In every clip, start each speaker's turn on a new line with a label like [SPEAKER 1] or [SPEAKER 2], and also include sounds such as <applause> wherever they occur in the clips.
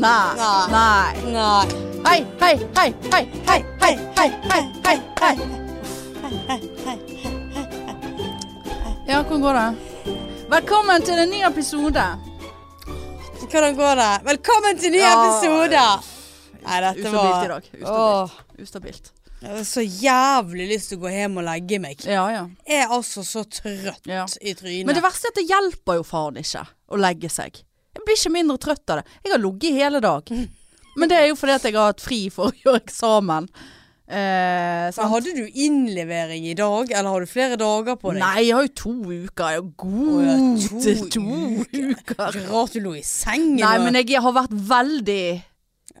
[SPEAKER 1] Nei.
[SPEAKER 2] Nei.
[SPEAKER 1] Nei.
[SPEAKER 2] Nei.
[SPEAKER 1] Hei, hei, hei, hei, hei, hei, hei, hei, hei, hei. Ja, hvordan går det? Velkommen til en ny episode.
[SPEAKER 2] Hvordan går det? Velkommen til ny
[SPEAKER 1] Ja.
[SPEAKER 2] episode! Nei, dette
[SPEAKER 1] Ustabilt i
[SPEAKER 2] var
[SPEAKER 1] dag.
[SPEAKER 2] Åh,
[SPEAKER 1] Ustabilt. Ustabilt.
[SPEAKER 2] Jeg har så jævlig lyst til å gå hjem og legge meg.
[SPEAKER 1] Ja, ja.
[SPEAKER 2] Jeg er altså så trøtt
[SPEAKER 1] Ja.
[SPEAKER 2] i trynet.
[SPEAKER 1] Men det verste er at det hjelper jo faen ikke å legge seg. Jeg blir ikke mindre trøtt av det. Jeg har ligget i hele dag. Men det er jo fordi at jeg har hatt fri for å gjøre eksamen. Eh, sant?
[SPEAKER 2] Men hadde du innlevering i dag, eller har du flere dager på deg?
[SPEAKER 1] Nei, jeg har jo to uker. Jeg har
[SPEAKER 2] Å ja,
[SPEAKER 1] god
[SPEAKER 2] to
[SPEAKER 1] til to uker.
[SPEAKER 2] Ikke Rart du lå i sengen.
[SPEAKER 1] Nei,
[SPEAKER 2] og-
[SPEAKER 1] men jeg har vært veldig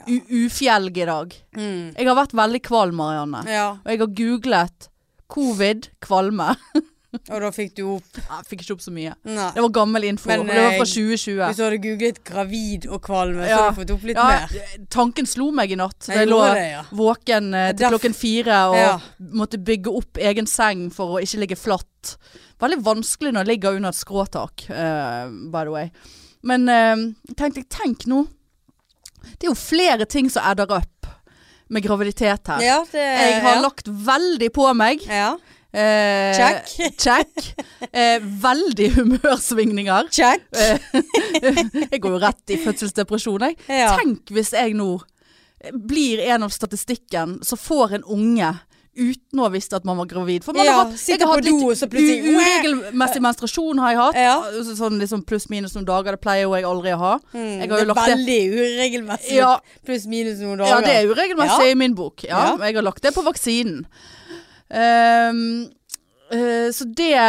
[SPEAKER 1] u- ufjelg i dag.
[SPEAKER 2] mm.
[SPEAKER 1] Jeg har vært veldig kvalm, Marianne.
[SPEAKER 2] Ja,
[SPEAKER 1] Og jeg har googlet covid,
[SPEAKER 2] <laughs>
[SPEAKER 1] kvalme.
[SPEAKER 2] og da fikk du opp.
[SPEAKER 1] Jeg fikk ikke opp så mye.
[SPEAKER 2] Nei.
[SPEAKER 1] Det var gammel info.
[SPEAKER 2] Men,
[SPEAKER 1] og det var
[SPEAKER 2] eh,
[SPEAKER 1] fra 2020.
[SPEAKER 2] Hvis du hadde googlet gravid og kvalme, så
[SPEAKER 1] Ja. eh,
[SPEAKER 2] hadde du fått opp litt mer.
[SPEAKER 1] Tanken slo meg i natt.
[SPEAKER 2] Jeg
[SPEAKER 1] Jeg lå
[SPEAKER 2] gjorde det, ja.
[SPEAKER 1] våken eh, til
[SPEAKER 2] Derf-
[SPEAKER 1] klokken fire og
[SPEAKER 2] Ja.
[SPEAKER 1] måtte bygge opp egen seng for å ikke ligge flatt. Veldig vanskelig når jeg ligger under et skråtak, eh, by the way. Men eh, tenkte jeg, tenk nå. Det er jo flere ting som adder up med graviditet her.
[SPEAKER 2] Ja, det
[SPEAKER 1] Jeg har
[SPEAKER 2] ja.
[SPEAKER 1] lagt veldig på meg.
[SPEAKER 2] ja.
[SPEAKER 1] Eh,
[SPEAKER 2] Check.
[SPEAKER 1] check. Eh, veldig humørsvingninger.
[SPEAKER 2] Check.
[SPEAKER 1] Eh, Jeg går jo rett i fødselsdepresjon, jeg.
[SPEAKER 2] Ja.
[SPEAKER 1] Tenk hvis jeg nå blir en av statistikken som får en unge uten å ha visst at man var gravid. For man
[SPEAKER 2] Ja,
[SPEAKER 1] har hatt, jeg
[SPEAKER 2] sitter
[SPEAKER 1] har
[SPEAKER 2] på
[SPEAKER 1] hatt
[SPEAKER 2] do, og så
[SPEAKER 1] litt
[SPEAKER 2] plutselig-
[SPEAKER 1] u- uregelmessig menstruasjon har jeg hatt.
[SPEAKER 2] Ja.
[SPEAKER 1] Så- Sånn liksom pluss minus noen dager, det pleier jo jeg aldri å ha.
[SPEAKER 2] Mm,
[SPEAKER 1] Jeg har jo lagt det-
[SPEAKER 2] det er veldig uregelmessig.
[SPEAKER 1] Ja.
[SPEAKER 2] Pluss minus noen
[SPEAKER 1] Ja,
[SPEAKER 2] dager.
[SPEAKER 1] det er uregelmessig i min bok. Ja,
[SPEAKER 2] Ja.
[SPEAKER 1] og Jeg har lagt det på vaksinen. Ehm, eh, så det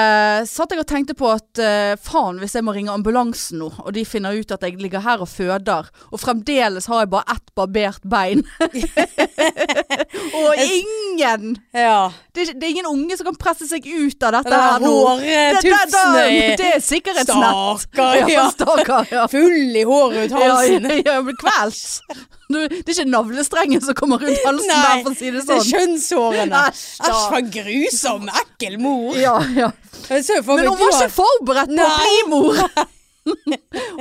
[SPEAKER 1] satt jeg og tenkte på at eh, faen hvis jeg må ringe ambulansen nå, og de finner ut at jeg ligger her og føder, og fremdeles har jeg bare ett barbert
[SPEAKER 2] <laughs>
[SPEAKER 1] bein. og ingen
[SPEAKER 2] ja.
[SPEAKER 1] det er, det er ingen unge som kan presse seg ut av dette
[SPEAKER 2] Den
[SPEAKER 1] her
[SPEAKER 2] der
[SPEAKER 1] nå. Det, det, det,
[SPEAKER 2] hårtufsene i
[SPEAKER 1] det er sikkerhetsnett.
[SPEAKER 2] Stakkar, ja.
[SPEAKER 1] Ja, stakkar. Ja.
[SPEAKER 2] Full i håret ut halsen.
[SPEAKER 1] Ja, ja, jeg blir kvalt. Du, det er ikke navlestrengen som kommer rundt halsen
[SPEAKER 2] Nei,
[SPEAKER 1] der, for å si det
[SPEAKER 2] Det er
[SPEAKER 1] sånn.
[SPEAKER 2] kjønnshårene.
[SPEAKER 1] Æsj, da.
[SPEAKER 2] Æsj, for en grusom, ekkel mor.
[SPEAKER 1] Ja, ja.
[SPEAKER 2] Jeg så jo for
[SPEAKER 1] Men
[SPEAKER 2] meg
[SPEAKER 1] hun var
[SPEAKER 2] du
[SPEAKER 1] ikke
[SPEAKER 2] har-
[SPEAKER 1] forberedt på å
[SPEAKER 2] Nei.
[SPEAKER 1] bli mor. Og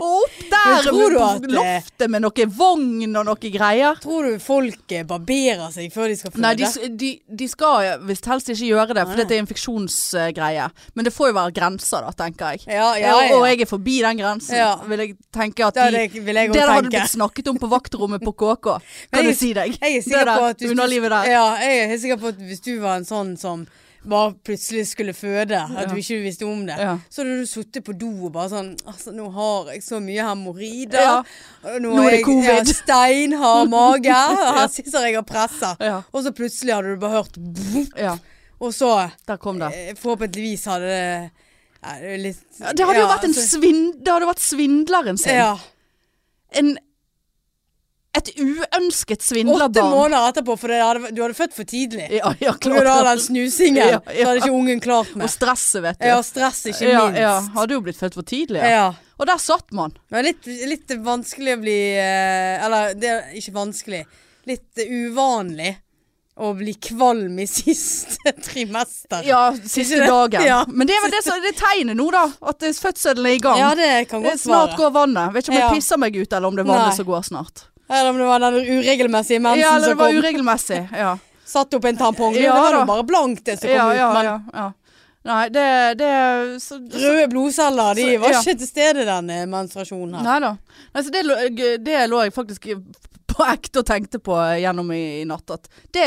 [SPEAKER 1] opp
[SPEAKER 2] Men
[SPEAKER 1] der
[SPEAKER 2] tror du
[SPEAKER 1] på
[SPEAKER 2] at, eh,
[SPEAKER 1] loftet med noe vogn og noe greier.
[SPEAKER 2] Tror du folk eh, barberer seg før de skal føde?
[SPEAKER 1] Nei, de, de, de skal visst helst ikke gjøre det, for dette er infeksjonsgreie. Men det får jo være grenser, da, tenker jeg.
[SPEAKER 2] Ja, ja, ja.
[SPEAKER 1] Og jeg er forbi den grensen,
[SPEAKER 2] Ja.
[SPEAKER 1] vil jeg tenke at
[SPEAKER 2] Det
[SPEAKER 1] de,
[SPEAKER 2] hadde jeg- vil jeg
[SPEAKER 1] Det
[SPEAKER 2] også
[SPEAKER 1] der hadde
[SPEAKER 2] tenke.
[SPEAKER 1] blitt snakket om på vaktrommet på KK,
[SPEAKER 2] Men
[SPEAKER 1] kan
[SPEAKER 2] jeg-
[SPEAKER 1] jeg si deg.
[SPEAKER 2] Jeg er
[SPEAKER 1] Det
[SPEAKER 2] sikker
[SPEAKER 1] der
[SPEAKER 2] på at hvis
[SPEAKER 1] underlivet
[SPEAKER 2] du,
[SPEAKER 1] der.
[SPEAKER 2] Ja, jeg er helt sikker på at hvis du var en sånn som bare plutselig skulle føde, at du ikke visste om det,
[SPEAKER 1] Ja.
[SPEAKER 2] så hadde du sittet på do og bare sånn Altså, nå har jeg så mye hemoroider.
[SPEAKER 1] Ja.
[SPEAKER 2] og
[SPEAKER 1] Nå er det
[SPEAKER 2] jeg-
[SPEAKER 1] covid.
[SPEAKER 2] Jeg har steinhard
[SPEAKER 1] <laughs>
[SPEAKER 2] mage. og Her sitter jeg og presser.
[SPEAKER 1] Ja.
[SPEAKER 2] Og så plutselig hadde du bare hørt boop,
[SPEAKER 1] Ja,
[SPEAKER 2] Og så,
[SPEAKER 1] der kom det.
[SPEAKER 2] eh, forhåpentligvis hadde det ja, det er litt
[SPEAKER 1] Ja, Det hadde jo
[SPEAKER 2] ja,
[SPEAKER 1] vært, en
[SPEAKER 2] altså,
[SPEAKER 1] svin- det hadde vært svindleren sin.
[SPEAKER 2] Ja.
[SPEAKER 1] En, et uønsket
[SPEAKER 2] Åtte
[SPEAKER 1] svindlerbarn.
[SPEAKER 2] måneder etterpå, for det hadde, du hadde født for tidlig.
[SPEAKER 1] Ja, ja,
[SPEAKER 2] På grunn
[SPEAKER 1] klart.
[SPEAKER 2] av den snusingen,
[SPEAKER 1] Ja,
[SPEAKER 2] så
[SPEAKER 1] ja.
[SPEAKER 2] hadde ikke ungen klart
[SPEAKER 1] Og
[SPEAKER 2] med.
[SPEAKER 1] stresset, vet du.
[SPEAKER 2] Ja, stress ikke
[SPEAKER 1] ja,
[SPEAKER 2] minst.
[SPEAKER 1] ja.
[SPEAKER 2] Ja,
[SPEAKER 1] Hadde jo blitt født for tidlig. Ja. Og der satt man.
[SPEAKER 2] Men litt, litt vanskelig å bli eh, Eller det er ikke vanskelig. Litt eh, uvanlig å bli kvalm i <laughs> siste trimester.
[SPEAKER 1] Ja, siste
[SPEAKER 2] det?
[SPEAKER 1] dagen.
[SPEAKER 2] Ja.
[SPEAKER 1] Men det er vel det, som- det er tegnet nå, da. At det- fødselen er i gang.
[SPEAKER 2] Ja, det kan
[SPEAKER 1] Det er
[SPEAKER 2] godt
[SPEAKER 1] snart
[SPEAKER 2] være.
[SPEAKER 1] går vannet. Vet ikke om jeg
[SPEAKER 2] Ja.
[SPEAKER 1] pisser meg ut, eller om det er vannet
[SPEAKER 2] Nei.
[SPEAKER 1] som går snart.
[SPEAKER 2] Eller om det var den uregelmessige mensen
[SPEAKER 1] Ja, eller det
[SPEAKER 2] som
[SPEAKER 1] var
[SPEAKER 2] kom.
[SPEAKER 1] uregelmessig. Ja.
[SPEAKER 2] Satt opp en tampong.
[SPEAKER 1] Ja,
[SPEAKER 2] det var
[SPEAKER 1] da.
[SPEAKER 2] jo bare blankt det <laughs> som kom
[SPEAKER 1] ja,
[SPEAKER 2] ut.
[SPEAKER 1] ja,
[SPEAKER 2] men
[SPEAKER 1] ja, ja. Nei, det, det så,
[SPEAKER 2] røde blodceller de
[SPEAKER 1] Så-
[SPEAKER 2] var
[SPEAKER 1] ja.
[SPEAKER 2] ikke til stede den eh, menstruasjonen her.
[SPEAKER 1] Nei da. Nei, så det, lå- g- det lå jeg faktisk på ekte og tenkte på gjennom i, i natt. At det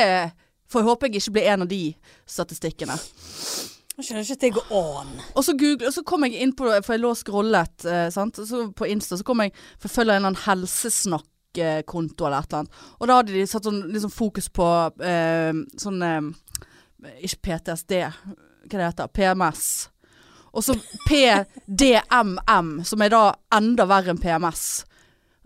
[SPEAKER 1] får jeg håpe jeg ikke blir en av de statistikkene.
[SPEAKER 2] Jeg skjønner ikke at det går an.
[SPEAKER 1] Og så, Google, og så kom jeg inn på For jeg lå og scrollet eh, sant? Og Så på Insta, så kom jeg For jeg følger en eller annen helsesnakkkonto eller et eller annet. Og da hadde de satt sånn liksom fokus på eh, sånn eh, Ikke PTSD, hva det heter? PMS. Og så PDMM, som er da enda verre enn PMS.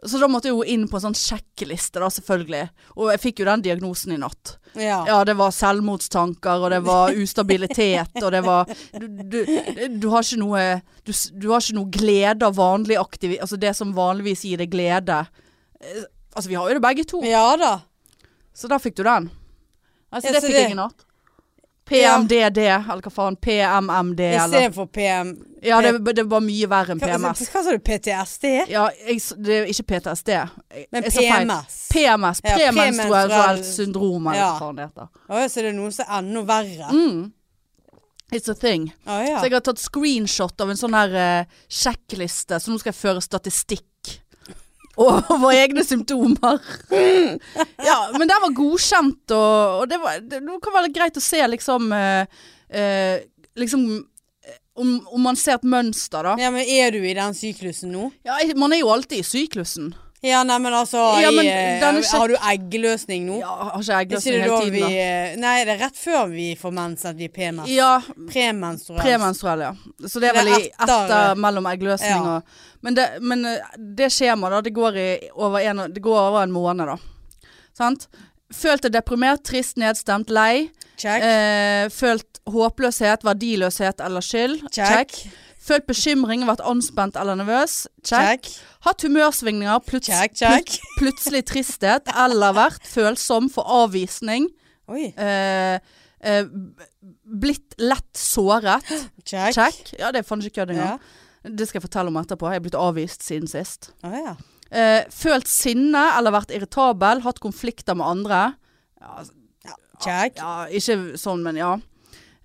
[SPEAKER 1] Så da måtte jeg jo inn på en sånn sjekkeliste, da, selvfølgelig. Og jeg fikk jo den diagnosen i natt.
[SPEAKER 2] Ja.
[SPEAKER 1] Ja, det var selvmordstanker, og det
[SPEAKER 2] <laughs>
[SPEAKER 1] var ustabilitet, og det var Du, du, du har ikke noe du, s- du har ikke noe glede av vanlig aktivitet Altså det som vanligvis gir deg glede. Eh, Altså, vi har jo det begge to,
[SPEAKER 2] ja da.
[SPEAKER 1] så der fikk du den. Altså,
[SPEAKER 2] Ja,
[SPEAKER 1] det
[SPEAKER 2] så
[SPEAKER 1] fikk
[SPEAKER 2] det-
[SPEAKER 1] jeg i natt. PMDD, eller hva faen. PMMD, eller
[SPEAKER 2] Istedenfor PM...
[SPEAKER 1] Ja, det, det var mye verre enn
[SPEAKER 2] Hva, altså,
[SPEAKER 1] PMS.
[SPEAKER 2] hva sa du? PTSD?
[SPEAKER 1] Ja, jeg, s- det er ikke PTSD. Jeg,
[SPEAKER 2] Men
[SPEAKER 1] jeg sa feil.
[SPEAKER 2] PMS.
[SPEAKER 1] PMS.
[SPEAKER 2] Ja, premenstruell-
[SPEAKER 1] Premenstruelt syndrom, eller
[SPEAKER 2] Ja.
[SPEAKER 1] hva faen det heter.
[SPEAKER 2] Å ja, så det er noe som er enda verre.
[SPEAKER 1] It's a thing.
[SPEAKER 2] Å
[SPEAKER 1] Mm. Så
[SPEAKER 2] ja.
[SPEAKER 1] jeg har tatt screenshot av en sånn her eh, sjekkliste, så nå skal jeg føre statistikk <laughs> over egne symptomer. <laughs> ja, men den var godkjent, og, og det, var, det, det kan være greit å se liksom eh, eh, Liksom eh, om, om man ser et mønster, da.
[SPEAKER 2] ja, men er du i den syklusen nå?
[SPEAKER 1] Ja, jeg- man er jo alltid i syklusen.
[SPEAKER 2] Ja, nei, men altså
[SPEAKER 1] Ja,
[SPEAKER 2] i,
[SPEAKER 1] men
[SPEAKER 2] eh,
[SPEAKER 1] denne sjek-
[SPEAKER 2] Har du eggløsning nå?
[SPEAKER 1] Ja, har ikke jeg
[SPEAKER 2] Er
[SPEAKER 1] glasset
[SPEAKER 2] ikke det
[SPEAKER 1] hele
[SPEAKER 2] da
[SPEAKER 1] tiden,
[SPEAKER 2] vi
[SPEAKER 1] da?
[SPEAKER 2] eh, Nei, det er rett før vi får mens at vi er PMS.
[SPEAKER 1] Ja,
[SPEAKER 2] Premenstruell.
[SPEAKER 1] Premenstruell, ja. Så det er
[SPEAKER 2] Det er
[SPEAKER 1] vel i
[SPEAKER 2] etter-
[SPEAKER 1] etter mellom eggløsning
[SPEAKER 2] Ja.
[SPEAKER 1] og Men det, men eh, det skjemaet, da, det går, i over en, det går over en måned, da. Sant? Følt deg deprimert, trist, nedstemt, lei.
[SPEAKER 2] Check.
[SPEAKER 1] Eh, følt håpløshet, verdiløshet eller skyld.
[SPEAKER 2] Check.
[SPEAKER 1] Følt bekymring, vært anspent eller nervøs. Check.
[SPEAKER 2] Check.
[SPEAKER 1] Hatt humørsvingninger, pluts
[SPEAKER 2] Check, check.
[SPEAKER 1] plut- plutselig tristhet eller vært følsom for avvisning.
[SPEAKER 2] Oi.
[SPEAKER 1] Eh, eh, b- blitt lett såret.
[SPEAKER 2] Check.
[SPEAKER 1] Check. Ja, det er faen ikke kødd
[SPEAKER 2] Ja.
[SPEAKER 1] engang. Det skal jeg fortelle om etterpå. Jeg er blitt avvist siden sist.
[SPEAKER 2] Å ja.
[SPEAKER 1] Eh, følt sinne eller vært irritabel, hatt konflikter med andre.
[SPEAKER 2] Check.
[SPEAKER 1] Ja, ikke sånn, men ja.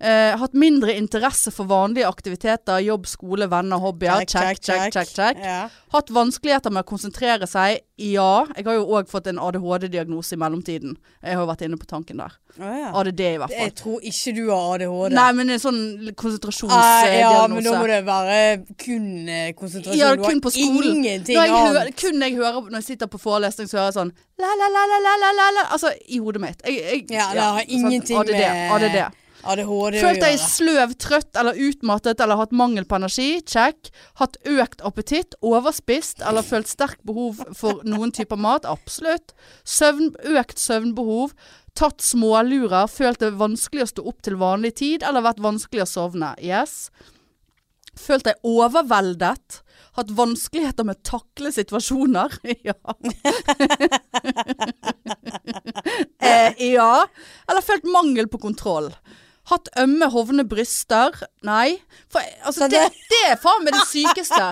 [SPEAKER 1] Eh, hatt mindre interesse for vanlige aktiviteter, jobb, skole, venner, hobbyer. Check, check, check, check.
[SPEAKER 2] Ja.
[SPEAKER 1] Hatt vanskeligheter med å konsentrere seg. Ja, jeg har jo òg fått en ADHD-diagnose i mellomtiden. Jeg har jo vært inne på tanken der.
[SPEAKER 2] Å ja.
[SPEAKER 1] ADD i hvert fall.
[SPEAKER 2] Jeg tror ikke du har ADHD.
[SPEAKER 1] Nei, men en sånn
[SPEAKER 2] Eh,
[SPEAKER 1] konsentrasjonsdiagnose.
[SPEAKER 2] ja, men da må det være kun eh, konsentrasjon.
[SPEAKER 1] Ja,
[SPEAKER 2] Du har
[SPEAKER 1] kun på skolen.
[SPEAKER 2] Ingenting
[SPEAKER 1] når jeg hører,
[SPEAKER 2] annet.
[SPEAKER 1] kun jeg hører når jeg sitter på forelesning, så hører jeg sånn la, la, la, la, la, la, la, la. Altså i hodet mitt. Jeg, jeg,
[SPEAKER 2] Ja, det har
[SPEAKER 1] sant?
[SPEAKER 2] ingenting
[SPEAKER 1] ADD,
[SPEAKER 2] med
[SPEAKER 1] ADD.
[SPEAKER 2] ADHD å
[SPEAKER 1] Følt deg
[SPEAKER 2] gjøre.
[SPEAKER 1] sløv, trøtt eller utmattet eller hatt mangel på energi? Check. Hatt økt appetitt? Overspist? Eller følt sterkt behov for noen typer mat? Absolutt. Søvn, økt søvnbehov? Tatt smålurer? Følt det vanskelig å stå opp til vanlig tid? Eller vært vanskelig å sovne? Yes. Følt deg overveldet? Hatt vanskeligheter med å takle situasjoner? <laughs>
[SPEAKER 2] <laughs>
[SPEAKER 1] ja. eh, ja. Eller følt mangel på kontroll? Hatt ømme, hovne bryster? Nei. For, altså,
[SPEAKER 2] Så
[SPEAKER 1] det,
[SPEAKER 2] det-
[SPEAKER 1] det er faen meg det sykeste.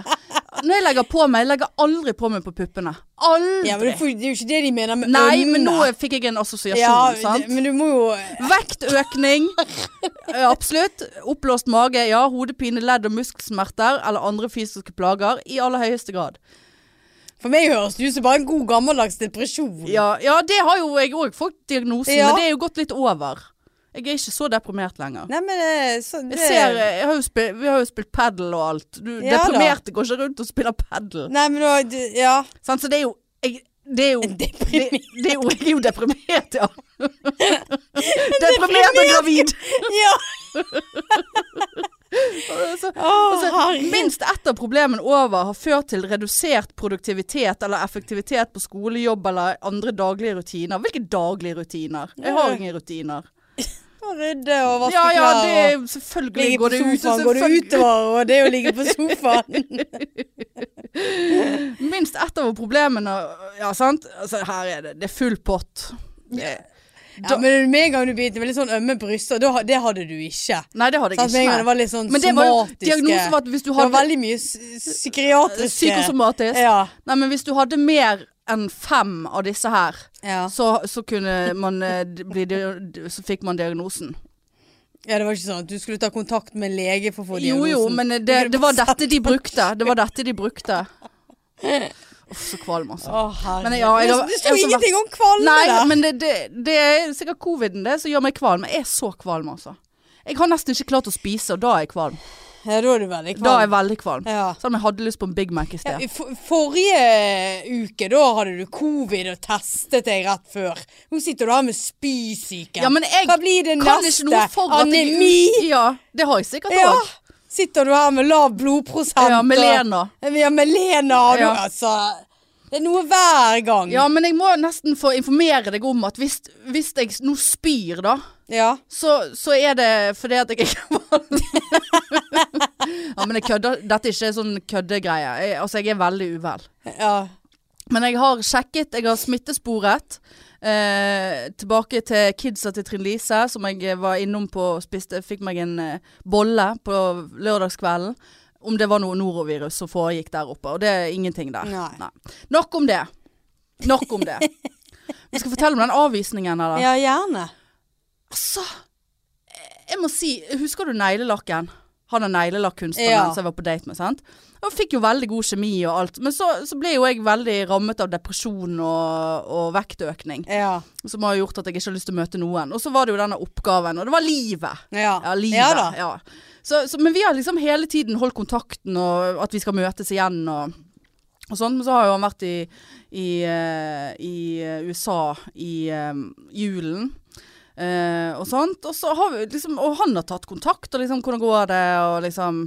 [SPEAKER 1] Når jeg legger på meg, jeg legger aldri på meg på puppene. Aldri.
[SPEAKER 2] Ja, men du får- det er jo ikke det de mener med
[SPEAKER 1] Nei, men nå
[SPEAKER 2] ømme.
[SPEAKER 1] fikk jeg en assosiasjon,
[SPEAKER 2] Ja,
[SPEAKER 1] sant?
[SPEAKER 2] det- men du må jo
[SPEAKER 1] Vektøkning. Eh, Absolutt. Oppblåst mage, ja. Hodepine, ledd og muskelsmerter eller andre fysiske plager. I aller høyeste grad.
[SPEAKER 2] For meg høres det ut som bare en god gammeldags depresjon.
[SPEAKER 1] Ja, ja det har jo jeg òg fått diagnosen,
[SPEAKER 2] Ja.
[SPEAKER 1] men det er jo gått litt over. Jeg er ikke så deprimert lenger.
[SPEAKER 2] Nei, men det, så, det
[SPEAKER 1] Jeg ser, eh, jeg har jo spil, vi har jo spilt padel og alt. Du,
[SPEAKER 2] Ja da.
[SPEAKER 1] deprimerte går ikke rundt og spiller padel.
[SPEAKER 2] Nei, men da du-
[SPEAKER 1] <laughs>
[SPEAKER 2] Ja.
[SPEAKER 1] Sant? Så det er jo jeg, det er jo, det,
[SPEAKER 2] Deprimert.
[SPEAKER 1] det er jo, jeg er jo deprimert, ja. deprimert og gravid.
[SPEAKER 2] <laughs> ja.
[SPEAKER 1] Så,
[SPEAKER 2] Å,
[SPEAKER 1] Altså,
[SPEAKER 2] herregud.
[SPEAKER 1] Minst ett av problemene over har ført til redusert produktivitet eller effektivitet på skolejobb eller andre daglige rutiner. Hvilke daglige rutiner? Jeg har ingen rutiner.
[SPEAKER 2] Å rydde og vaske
[SPEAKER 1] Ja ja,
[SPEAKER 2] klær
[SPEAKER 1] det
[SPEAKER 2] og
[SPEAKER 1] er selvfølgelig
[SPEAKER 2] ligge
[SPEAKER 1] går
[SPEAKER 2] på
[SPEAKER 1] det ut.
[SPEAKER 2] sofaen. Går det utover, og det er å ligge
[SPEAKER 1] <laughs>
[SPEAKER 2] på sofaen. <laughs>
[SPEAKER 1] Minst ett av problemene Ja, sant? Altså, her er det. Det er full pott. Det,
[SPEAKER 2] Ja, men med en gang du begynte med litt sånn ømme bryster, da ha- det hadde du ikke.
[SPEAKER 1] nei, det hadde jeg
[SPEAKER 2] Sant? Med en gang det
[SPEAKER 1] ikke.
[SPEAKER 2] var litt sånn
[SPEAKER 1] Men det var jo
[SPEAKER 2] somatiske
[SPEAKER 1] diagnosen var at hvis du
[SPEAKER 2] Det var
[SPEAKER 1] hadde eh,
[SPEAKER 2] veldig mye s- psykiatriske
[SPEAKER 1] psykosomatisk
[SPEAKER 2] Ja.
[SPEAKER 1] Nei, men hvis du hadde mer enn fem av disse her,
[SPEAKER 2] Ja.
[SPEAKER 1] så, så kunne man eh, d- bli di- Så fikk man diagnosen.
[SPEAKER 2] ja, det var ikke sånn at du skulle ta kontakt med en lege for å få
[SPEAKER 1] Jo
[SPEAKER 2] diagnosen.
[SPEAKER 1] jo, men det, det var dette de brukte. Det var dette de brukte. Uff, så kvalm, altså.
[SPEAKER 2] Å, herregud.
[SPEAKER 1] Men ja, jeg har-
[SPEAKER 2] det
[SPEAKER 1] jeg
[SPEAKER 2] sto
[SPEAKER 1] har så
[SPEAKER 2] ingenting om kvalme
[SPEAKER 1] Nei,
[SPEAKER 2] der.
[SPEAKER 1] men det, det, det er sikkert coviden det som gjør meg kvalm. Jeg er så kvalm, altså. Jeg har nesten ikke klart å spise, og da er jeg kvalm.
[SPEAKER 2] Ja, da er du veldig kvalm.
[SPEAKER 1] Da er jeg veldig kvalm.
[SPEAKER 2] ja.
[SPEAKER 1] Selv om jeg hadde lyst på en Big Mac i
[SPEAKER 2] Ja,
[SPEAKER 1] sted.
[SPEAKER 2] i for, forrige uke da hadde du covid og testet deg rett før. Nå sitter du her med spysyke.
[SPEAKER 1] Ja, men jeg
[SPEAKER 2] Hva blir det
[SPEAKER 1] Kan
[SPEAKER 2] neste?
[SPEAKER 1] ikke noe for at jeg-
[SPEAKER 2] Anemi?
[SPEAKER 1] Ja, det har jeg sikkert
[SPEAKER 2] Ja.
[SPEAKER 1] òg.
[SPEAKER 2] Sitter du her med lav blodprosent?
[SPEAKER 1] Ja, med
[SPEAKER 2] og-
[SPEAKER 1] Lena.
[SPEAKER 2] Ja, med Lena. og Du,
[SPEAKER 1] Ja.
[SPEAKER 2] altså, det er noe hver gang.
[SPEAKER 1] Ja, men jeg må nesten få informere deg om at hvis, hvis jeg nå spyr, da,
[SPEAKER 2] Ja.
[SPEAKER 1] så, så er det fordi at jeg ikke er kvalm.
[SPEAKER 2] <laughs>
[SPEAKER 1] ja, men jeg kødder. Dette er ikke sånn køddegreie. Jeg, altså, jeg er veldig uvel.
[SPEAKER 2] Ja.
[SPEAKER 1] Men jeg har sjekket, jeg har smittesporet. Eh, tilbake til kidsa til Trine Lise, som jeg eh, var innom på og spiste. Fikk meg en eh, bolle på lørdagskvelden. Om det var noe norovirus som foregikk der oppe. Og det er ingenting der.
[SPEAKER 2] Nei.
[SPEAKER 1] Nok om det. Nok
[SPEAKER 2] <laughs>
[SPEAKER 1] om det. Vi skal fortelle om den avvisningen her, da.
[SPEAKER 2] Ja, gjerne.
[SPEAKER 1] Altså eh, Jeg må si Husker du neglelakken? Han er neglelakkkunstneren
[SPEAKER 2] Ja.
[SPEAKER 1] som jeg var på date med. sant? Og fikk jo veldig god kjemi og alt. Men så, så ble jo jeg veldig rammet av depresjon og, og vektøkning.
[SPEAKER 2] Ja.
[SPEAKER 1] Som har gjort at jeg ikke har lyst til å møte noen. Og så var det jo denne oppgaven, og det var livet.
[SPEAKER 2] Ja,
[SPEAKER 1] Ja, livet.
[SPEAKER 2] Ja
[SPEAKER 1] Ja
[SPEAKER 2] da.
[SPEAKER 1] Så, så, men vi har liksom hele tiden holdt kontakten, og at vi skal møtes igjen og, og sånn. Men så har jo han vært i, i, eh, i eh, USA i eh, julen. eh, og sånt. Og, så har vi liksom, og han har tatt kontakt, og liksom 'hvordan går det', og liksom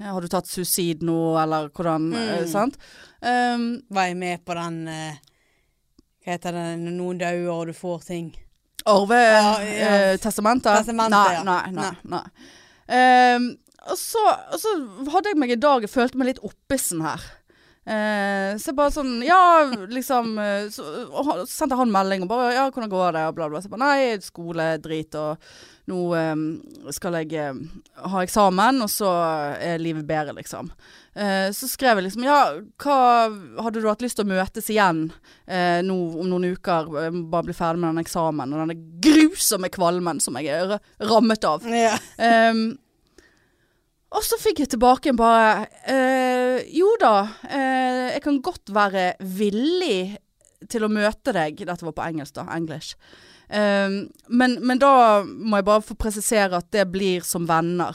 [SPEAKER 1] eh, 'har du tatt suicid nå', eller hvordan
[SPEAKER 2] Mm.
[SPEAKER 1] eh, Sant? Ehm,
[SPEAKER 2] Var jeg med på den eh, Hva heter det når noen dauer og du får ting?
[SPEAKER 1] Arvetestamentet?
[SPEAKER 2] Ja, ja.
[SPEAKER 1] Eh, testamentet?
[SPEAKER 2] Testamentet,
[SPEAKER 1] nei,
[SPEAKER 2] ja.
[SPEAKER 1] nei, nei, nei. Ehm, og, så, og så hadde jeg meg i dag Jeg følte meg litt oppesen her. Eh, så jeg bare sånn Ja, liksom eh, så, og han- så sendte han melding og bare Ja, hvordan går det? Og bla, bla. Så jeg bare Nei, skole, drit. Og nå eh, skal jeg eh, ha eksamen, og så er livet bedre, liksom. Eh, så skrev jeg liksom Ja, hva hadde du hatt lyst til å møtes igjen eh, nå om noen uker? Jeg må bare bli ferdig med den eksamen og denne grusomme kvalmen som jeg er rammet av.
[SPEAKER 2] Ja.
[SPEAKER 1] Ehm, og så fikk jeg tilbake en bare eh, Jo da, eh, jeg kan godt være villig til å møte deg. Dette var på engelsk, da. English. Ehm, men, men da må jeg bare få presisere at det blir som venner.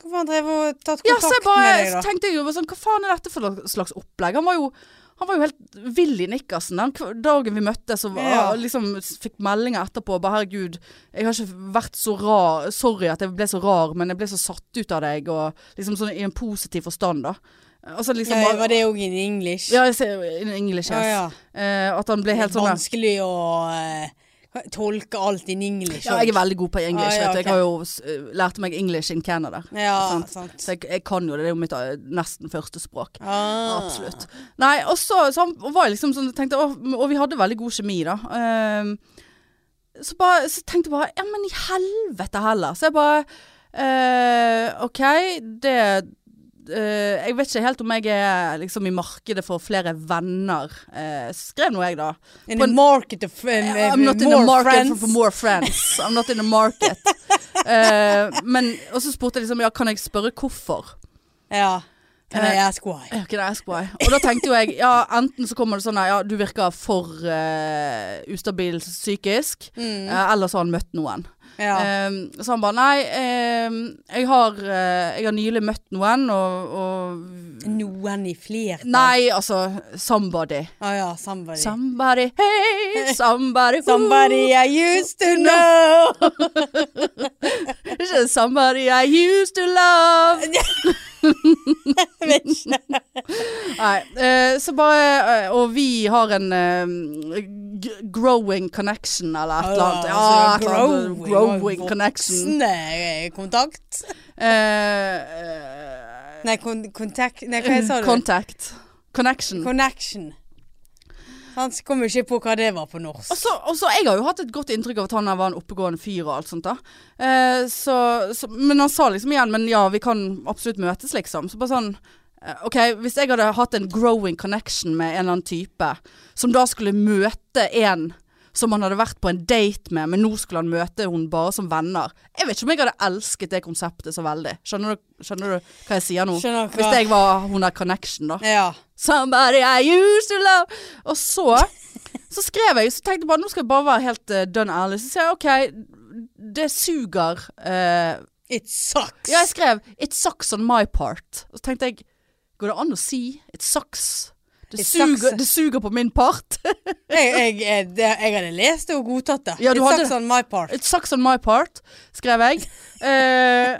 [SPEAKER 2] Hvorfor har han drevet og tatt
[SPEAKER 1] Ja,
[SPEAKER 2] kontakt
[SPEAKER 1] så jeg bare
[SPEAKER 2] med
[SPEAKER 1] så
[SPEAKER 2] deg, da?
[SPEAKER 1] tenkte jeg jo bare sånn, hva faen er dette for slags opplegg? Han var jo, han var jo helt vill i Nikkersen. Den kv- dagen vi møttes og
[SPEAKER 2] Ja.
[SPEAKER 1] og liksom s- fikk meldinger etterpå, bare herregud, jeg har ikke vært så rar, sorry at jeg ble så rar, men jeg ble så satt ut av deg, og liksom sånn i en positiv forstand da. Altså liksom
[SPEAKER 2] Nei,
[SPEAKER 1] bare...
[SPEAKER 2] var det òg in English?
[SPEAKER 1] Ja, jeg ser in English, yes.
[SPEAKER 2] ja.
[SPEAKER 1] Eh, at han ble helt sånn der-
[SPEAKER 2] Vanskelig å eh, tolke alt in English.
[SPEAKER 1] Ja, jeg er veldig god på English,
[SPEAKER 2] Ah,
[SPEAKER 1] vet
[SPEAKER 2] ja,
[SPEAKER 1] du.
[SPEAKER 2] ok.
[SPEAKER 1] Jeg har jo s- eh, lært meg English in Canada.
[SPEAKER 2] ja,
[SPEAKER 1] sant.
[SPEAKER 2] sant.
[SPEAKER 1] Så jeg, jeg kan jo det, det er jo mitt eh, nesten første språk.
[SPEAKER 2] Ah.
[SPEAKER 1] Absolutt. Nei, og så, så han var jeg liksom sånn tenkte, «Åh», Og vi hadde veldig god kjemi, da. Ehm, så, bare, så tenkte jeg bare Ja, men i helvete heller. Så jeg bare eh, OK, det eh, Jeg vet ikke helt om jeg er liksom i markedet for flere venner, eh, skrev nå jeg, da.
[SPEAKER 2] In
[SPEAKER 1] På
[SPEAKER 2] the
[SPEAKER 1] en-
[SPEAKER 2] market of eh,
[SPEAKER 1] I'm not in
[SPEAKER 2] more
[SPEAKER 1] the market
[SPEAKER 2] friends.
[SPEAKER 1] for more friends. I'm not in the market.
[SPEAKER 2] <laughs>
[SPEAKER 1] Eh, men, og så spurte jeg liksom Ja, kan jeg spørre hvorfor?
[SPEAKER 2] Ja. Can I
[SPEAKER 1] Eh,
[SPEAKER 2] ask why?
[SPEAKER 1] Ja, Can I ask why? Og da tenkte jo jeg Ja, enten så kommer det sånn Ja, du virker for eh, ustabil psykisk
[SPEAKER 2] Mm,
[SPEAKER 1] eh, Eller så har han møtt noen
[SPEAKER 2] ja.
[SPEAKER 1] Ehm, Så han bare Nei, ehm, jeg, har, eh, jeg har nylig møtt noen Og, og
[SPEAKER 2] Noen i flertall.
[SPEAKER 1] Nei, altså Somebody
[SPEAKER 2] Ah, ja, somebody.
[SPEAKER 1] Somebody, hey Somebody, who.
[SPEAKER 2] somebody I used to know.
[SPEAKER 1] Ikke somebody I used to
[SPEAKER 2] <laughs>
[SPEAKER 1] love
[SPEAKER 2] Vet ikke.
[SPEAKER 1] Nei, eh, så bare eh, Og vi har en eh, g- growing connection, eller et eller annet. Ja, et eller annet
[SPEAKER 2] Ah, Oh, altså, growing,
[SPEAKER 1] growing connection.
[SPEAKER 2] voksende, eh, Kontakt.
[SPEAKER 1] Eh,
[SPEAKER 2] Nei, kon kontakt Nei, hva sa du?
[SPEAKER 1] contact. Connection.
[SPEAKER 2] Connection. Han kom jo ikke på hva det var på norsk.
[SPEAKER 1] Og så, og så, jeg har jo hatt et godt inntrykk av at han her var en oppegående fyr og alt sånt da. Eh, så, så, men han sa liksom igjen, men ja, vi kan absolutt møtes liksom. Så bare sånn, eh, ok, hvis jeg hadde hatt en growing connection med en eller annen type, som da skulle møte en som han hadde vært på en date med, men nå skulle han møte hun bare som venner. Jeg vet ikke om jeg hadde elsket det konseptet så veldig. Skjønner du, skjønner du hva jeg sier nå?
[SPEAKER 2] Skjønner hva-
[SPEAKER 1] Hvis jeg var hun der connection da.
[SPEAKER 2] Ja.
[SPEAKER 1] Somebody I used to love Og så Så skrev jeg Så tenkte jeg bare Nå skal jeg bare være helt eh, dønn ærlig Så sier jeg Ok Det suger eh,
[SPEAKER 2] It sucks.
[SPEAKER 1] Ja jeg skrev It sucks on my part Og så tenkte jeg Går det an å si It sucks Det,
[SPEAKER 2] It
[SPEAKER 1] suger,
[SPEAKER 2] sucks.
[SPEAKER 1] det suger på min part
[SPEAKER 2] jeg, jeg, jeg, det, jeg hadde lest det og godtatt det.
[SPEAKER 1] Ja, du
[SPEAKER 2] It
[SPEAKER 1] hadde
[SPEAKER 2] sucks on my part.
[SPEAKER 1] It sucks on my part, skrev jeg. Eh,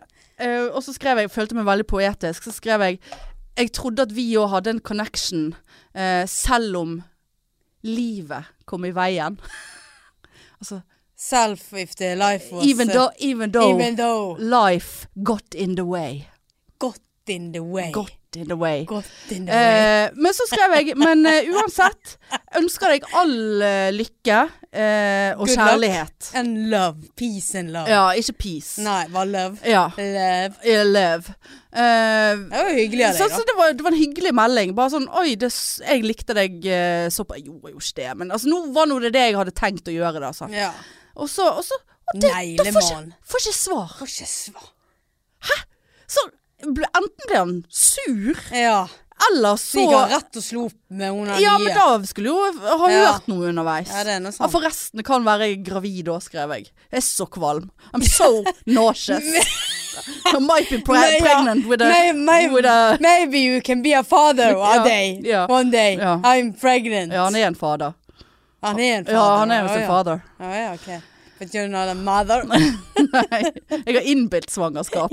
[SPEAKER 1] eh, og så skrev jeg, følte meg veldig poetisk, så skrev jeg Jeg trodde at vi òg hadde en connection, eh, selv om livet kom i veien. <laughs> altså
[SPEAKER 2] Self if the life was
[SPEAKER 1] even,
[SPEAKER 2] uh,
[SPEAKER 1] though, even though
[SPEAKER 2] even though
[SPEAKER 1] life got in the way.
[SPEAKER 2] got in the way.
[SPEAKER 1] Got in the way.
[SPEAKER 2] Godt in the way.
[SPEAKER 1] Eh, men så skrev jeg Men eh, uansett, ønsker deg all eh, lykke eh, og
[SPEAKER 2] Good luck.
[SPEAKER 1] kjærlighet.
[SPEAKER 2] And love. Peace and love.
[SPEAKER 1] Ja, ikke peace.
[SPEAKER 2] Nei, bare love.
[SPEAKER 1] Ja.
[SPEAKER 2] Love.
[SPEAKER 1] I love. Eh,
[SPEAKER 2] Det var jo hyggelig av
[SPEAKER 1] så,
[SPEAKER 2] deg,
[SPEAKER 1] så
[SPEAKER 2] da.
[SPEAKER 1] det, var, det var en hyggelig melding. Bare sånn Oi, det, s- jeg likte deg eh, såpass Jeg gjorde jo ikke det, men altså, nå var nå det det jeg hadde tenkt å gjøre. Da, altså.
[SPEAKER 2] Ja.
[SPEAKER 1] Og så, og så og det, da får ikke,
[SPEAKER 2] Neglemann.
[SPEAKER 1] får ikke svar.
[SPEAKER 2] Får ikke svar.
[SPEAKER 1] Så ble, enten ble han sur,
[SPEAKER 2] Ja.
[SPEAKER 1] eller
[SPEAKER 2] Så
[SPEAKER 1] så
[SPEAKER 2] gikk han rett og slo opp med hun der
[SPEAKER 1] Ja, men
[SPEAKER 2] nye.
[SPEAKER 1] da skulle jo ha
[SPEAKER 2] Ja.
[SPEAKER 1] hørt noe underveis.
[SPEAKER 2] Ja, det er noe
[SPEAKER 1] Ja,
[SPEAKER 2] sånt.
[SPEAKER 1] forresten det kan være jeg er gravid òg, skrev jeg. Jeg er så kvalm. I'm so
[SPEAKER 2] <laughs>
[SPEAKER 1] nauseous. I might be pre
[SPEAKER 2] Nei, ja.
[SPEAKER 1] pregnant with a,
[SPEAKER 2] May- may-
[SPEAKER 1] with a
[SPEAKER 2] Maybe you can be a father one
[SPEAKER 1] Ja,
[SPEAKER 2] day.
[SPEAKER 1] ja.
[SPEAKER 2] One day.
[SPEAKER 1] Ja.
[SPEAKER 2] I'm pregnant.
[SPEAKER 1] Ja, han er en fader.
[SPEAKER 2] Han er en father.
[SPEAKER 1] Ja, han er jo sin
[SPEAKER 2] ja.
[SPEAKER 1] fader. <laughs>
[SPEAKER 2] Ja, ja, ok. But you're not a mother.
[SPEAKER 1] Nei, jeg har innbilt
[SPEAKER 2] <laughs>
[SPEAKER 1] svangerskap.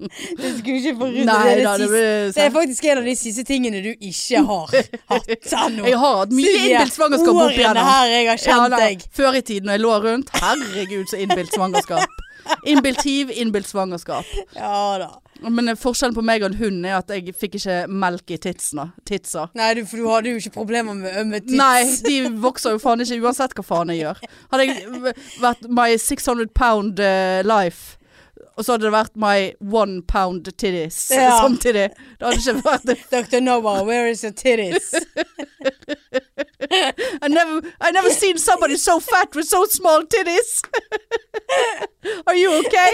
[SPEAKER 2] Det skulle ikke forundre
[SPEAKER 1] Nei
[SPEAKER 2] det,
[SPEAKER 1] da,
[SPEAKER 2] er det,
[SPEAKER 1] det
[SPEAKER 2] siste-
[SPEAKER 1] blir
[SPEAKER 2] det er faktisk en av de siste tingene du ikke har
[SPEAKER 1] <laughs>
[SPEAKER 2] hatt ennå.
[SPEAKER 1] Jeg har hatt mye
[SPEAKER 2] Silje,
[SPEAKER 1] innbilt svangerskap opp
[SPEAKER 2] Årene
[SPEAKER 1] igjennom.
[SPEAKER 2] her jeg har
[SPEAKER 1] Ja,
[SPEAKER 2] kjent
[SPEAKER 1] nei,
[SPEAKER 2] deg.
[SPEAKER 1] Før i tiden når jeg lå rundt. Herregud, så innbilt svangerskap. Innbilt hiv, innbilt svangerskap.
[SPEAKER 2] Ja da.
[SPEAKER 1] Men eh, forskjellen på meg og en hund er at jeg fikk ikke melk i titsene. Titsa.
[SPEAKER 2] Nei, du, for du hadde jo ikke problemer med ømme tits.
[SPEAKER 1] Nei, de vokser jo faen ikke uansett hva faen jeg gjør. Hadde jeg v- vært my 600 pound eh, life, og så hadde det vært my one pound titties eh,
[SPEAKER 2] Ja.
[SPEAKER 1] samtidig. Det hadde ikke vært
[SPEAKER 2] Dr. Noah, where is
[SPEAKER 1] <laughs>
[SPEAKER 2] your titties?
[SPEAKER 1] I never, I
[SPEAKER 2] <laughs>
[SPEAKER 1] never seen somebody so fat with so small titties. <laughs> Are you
[SPEAKER 2] <laughs>
[SPEAKER 1] okay?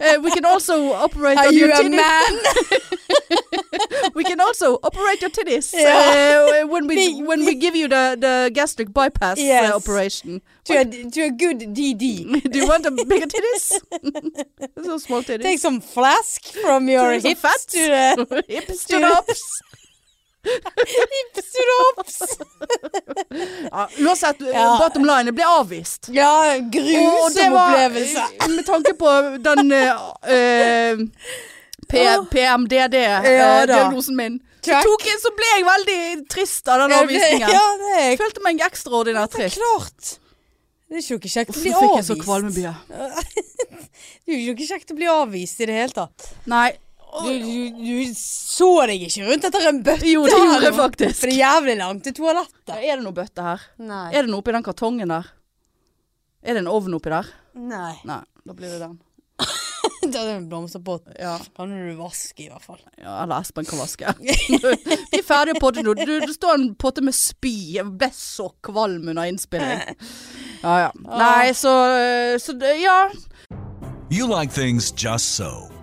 [SPEAKER 1] Eh, we can also operate
[SPEAKER 2] Are
[SPEAKER 1] on
[SPEAKER 2] you
[SPEAKER 1] your
[SPEAKER 2] a
[SPEAKER 1] titties.
[SPEAKER 2] man? <laughs>
[SPEAKER 1] We can also operate your titties eh, when
[SPEAKER 2] <laughs>
[SPEAKER 1] we when we give you the, the gastric bypass eh,
[SPEAKER 2] Yes.
[SPEAKER 1] operation. <laughs>
[SPEAKER 2] To a, to a good DD.
[SPEAKER 1] Do you want a bigger
[SPEAKER 2] <laughs>
[SPEAKER 1] titties? so small titties.
[SPEAKER 2] Take some flask from your
[SPEAKER 1] Take some
[SPEAKER 2] hips
[SPEAKER 1] fat.
[SPEAKER 2] to the
[SPEAKER 1] <laughs> Hips
[SPEAKER 2] to
[SPEAKER 1] to the
[SPEAKER 2] <laughs>
[SPEAKER 1] hops.
[SPEAKER 2] hips to the hops.
[SPEAKER 1] Ja,
[SPEAKER 2] <laughs>
[SPEAKER 1] uansett,
[SPEAKER 2] Ja.
[SPEAKER 1] Ah, bottom line, jeg ble avvist.
[SPEAKER 2] Ja,
[SPEAKER 1] Og det
[SPEAKER 2] grusom
[SPEAKER 1] var-
[SPEAKER 2] opplevelse.
[SPEAKER 1] Med tanke på den eh, eh, P
[SPEAKER 2] Ja, da.
[SPEAKER 1] PMDD-diagnosen eh, min, så,
[SPEAKER 2] Check.
[SPEAKER 1] tok jeg, så ble jeg veldig trist av den
[SPEAKER 2] <laughs> Ja, det-
[SPEAKER 1] avvisningen.
[SPEAKER 2] Ja, det er
[SPEAKER 1] Jeg følte meg ekstraordinært
[SPEAKER 2] Det er
[SPEAKER 1] trist.
[SPEAKER 2] klart. Det er ikke noe kjekt å
[SPEAKER 1] Hvorfor
[SPEAKER 2] bli
[SPEAKER 1] fikk jeg så
[SPEAKER 2] avvist.
[SPEAKER 1] kvalmebyer?
[SPEAKER 2] Det er jo ikke kjekt å bli avvist i det hele tatt.
[SPEAKER 1] Nei.
[SPEAKER 2] Du, du, du så deg ikke rundt etter en bøtte.
[SPEAKER 1] Jo, det gjorde jeg
[SPEAKER 2] eller noe.
[SPEAKER 1] faktisk.
[SPEAKER 2] For det er jævlig langt til toalettet.
[SPEAKER 1] Er det noe bøtte her?
[SPEAKER 2] Nei.
[SPEAKER 1] Er det noe oppi den kartongen der? Er det en ovn oppi der?
[SPEAKER 2] Nei. <laughs>
[SPEAKER 1] Nei, da blir det den.
[SPEAKER 2] Det er en blomsterbåt.
[SPEAKER 1] Ja.
[SPEAKER 2] Kan du vaske, i hvert fall.
[SPEAKER 1] Ja, eller Espen kan
[SPEAKER 2] <laughs>
[SPEAKER 1] vaske. Vi er ferdige å podde nå. Du, det står en potte med spy. Jeg ble så kvalm under innspilling.
[SPEAKER 2] <laughs>
[SPEAKER 1] Ja, ja. Nei, så, eh, så det- Ja.
[SPEAKER 3] You like things just so.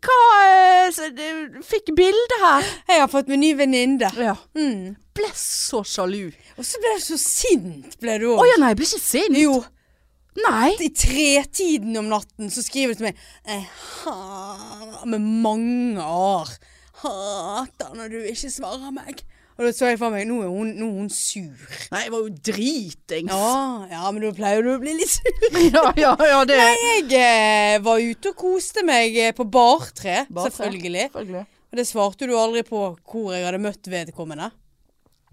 [SPEAKER 1] hva eh, så, du Fikk bilde her.
[SPEAKER 2] Jeg har fått meg ny venninne.
[SPEAKER 1] Ja. Ble så sjalu.
[SPEAKER 2] Og så ble du så sint, ble du
[SPEAKER 1] Å
[SPEAKER 2] òg.
[SPEAKER 1] ja, nei, jeg ble ikke sint.
[SPEAKER 2] Jo.
[SPEAKER 1] Nei.
[SPEAKER 2] I tretiden om natten så skriver du til meg Jeg har med mange år hater når du ikke svarer meg. Og da så jeg for meg Nå er hun, nå er hun sur.
[SPEAKER 1] Nei, jeg var jo dritings.
[SPEAKER 2] Ja, ja, men da pleier du å bli litt sur.
[SPEAKER 1] <laughs> ja, ja, ja, det
[SPEAKER 2] Jeg eh, var ute og koste meg eh, på bartre,
[SPEAKER 1] Bare se.
[SPEAKER 2] selvfølgelig.
[SPEAKER 1] Selvfølgelig.
[SPEAKER 2] Og det svarte du aldri på hvor jeg hadde møtt vedkommende.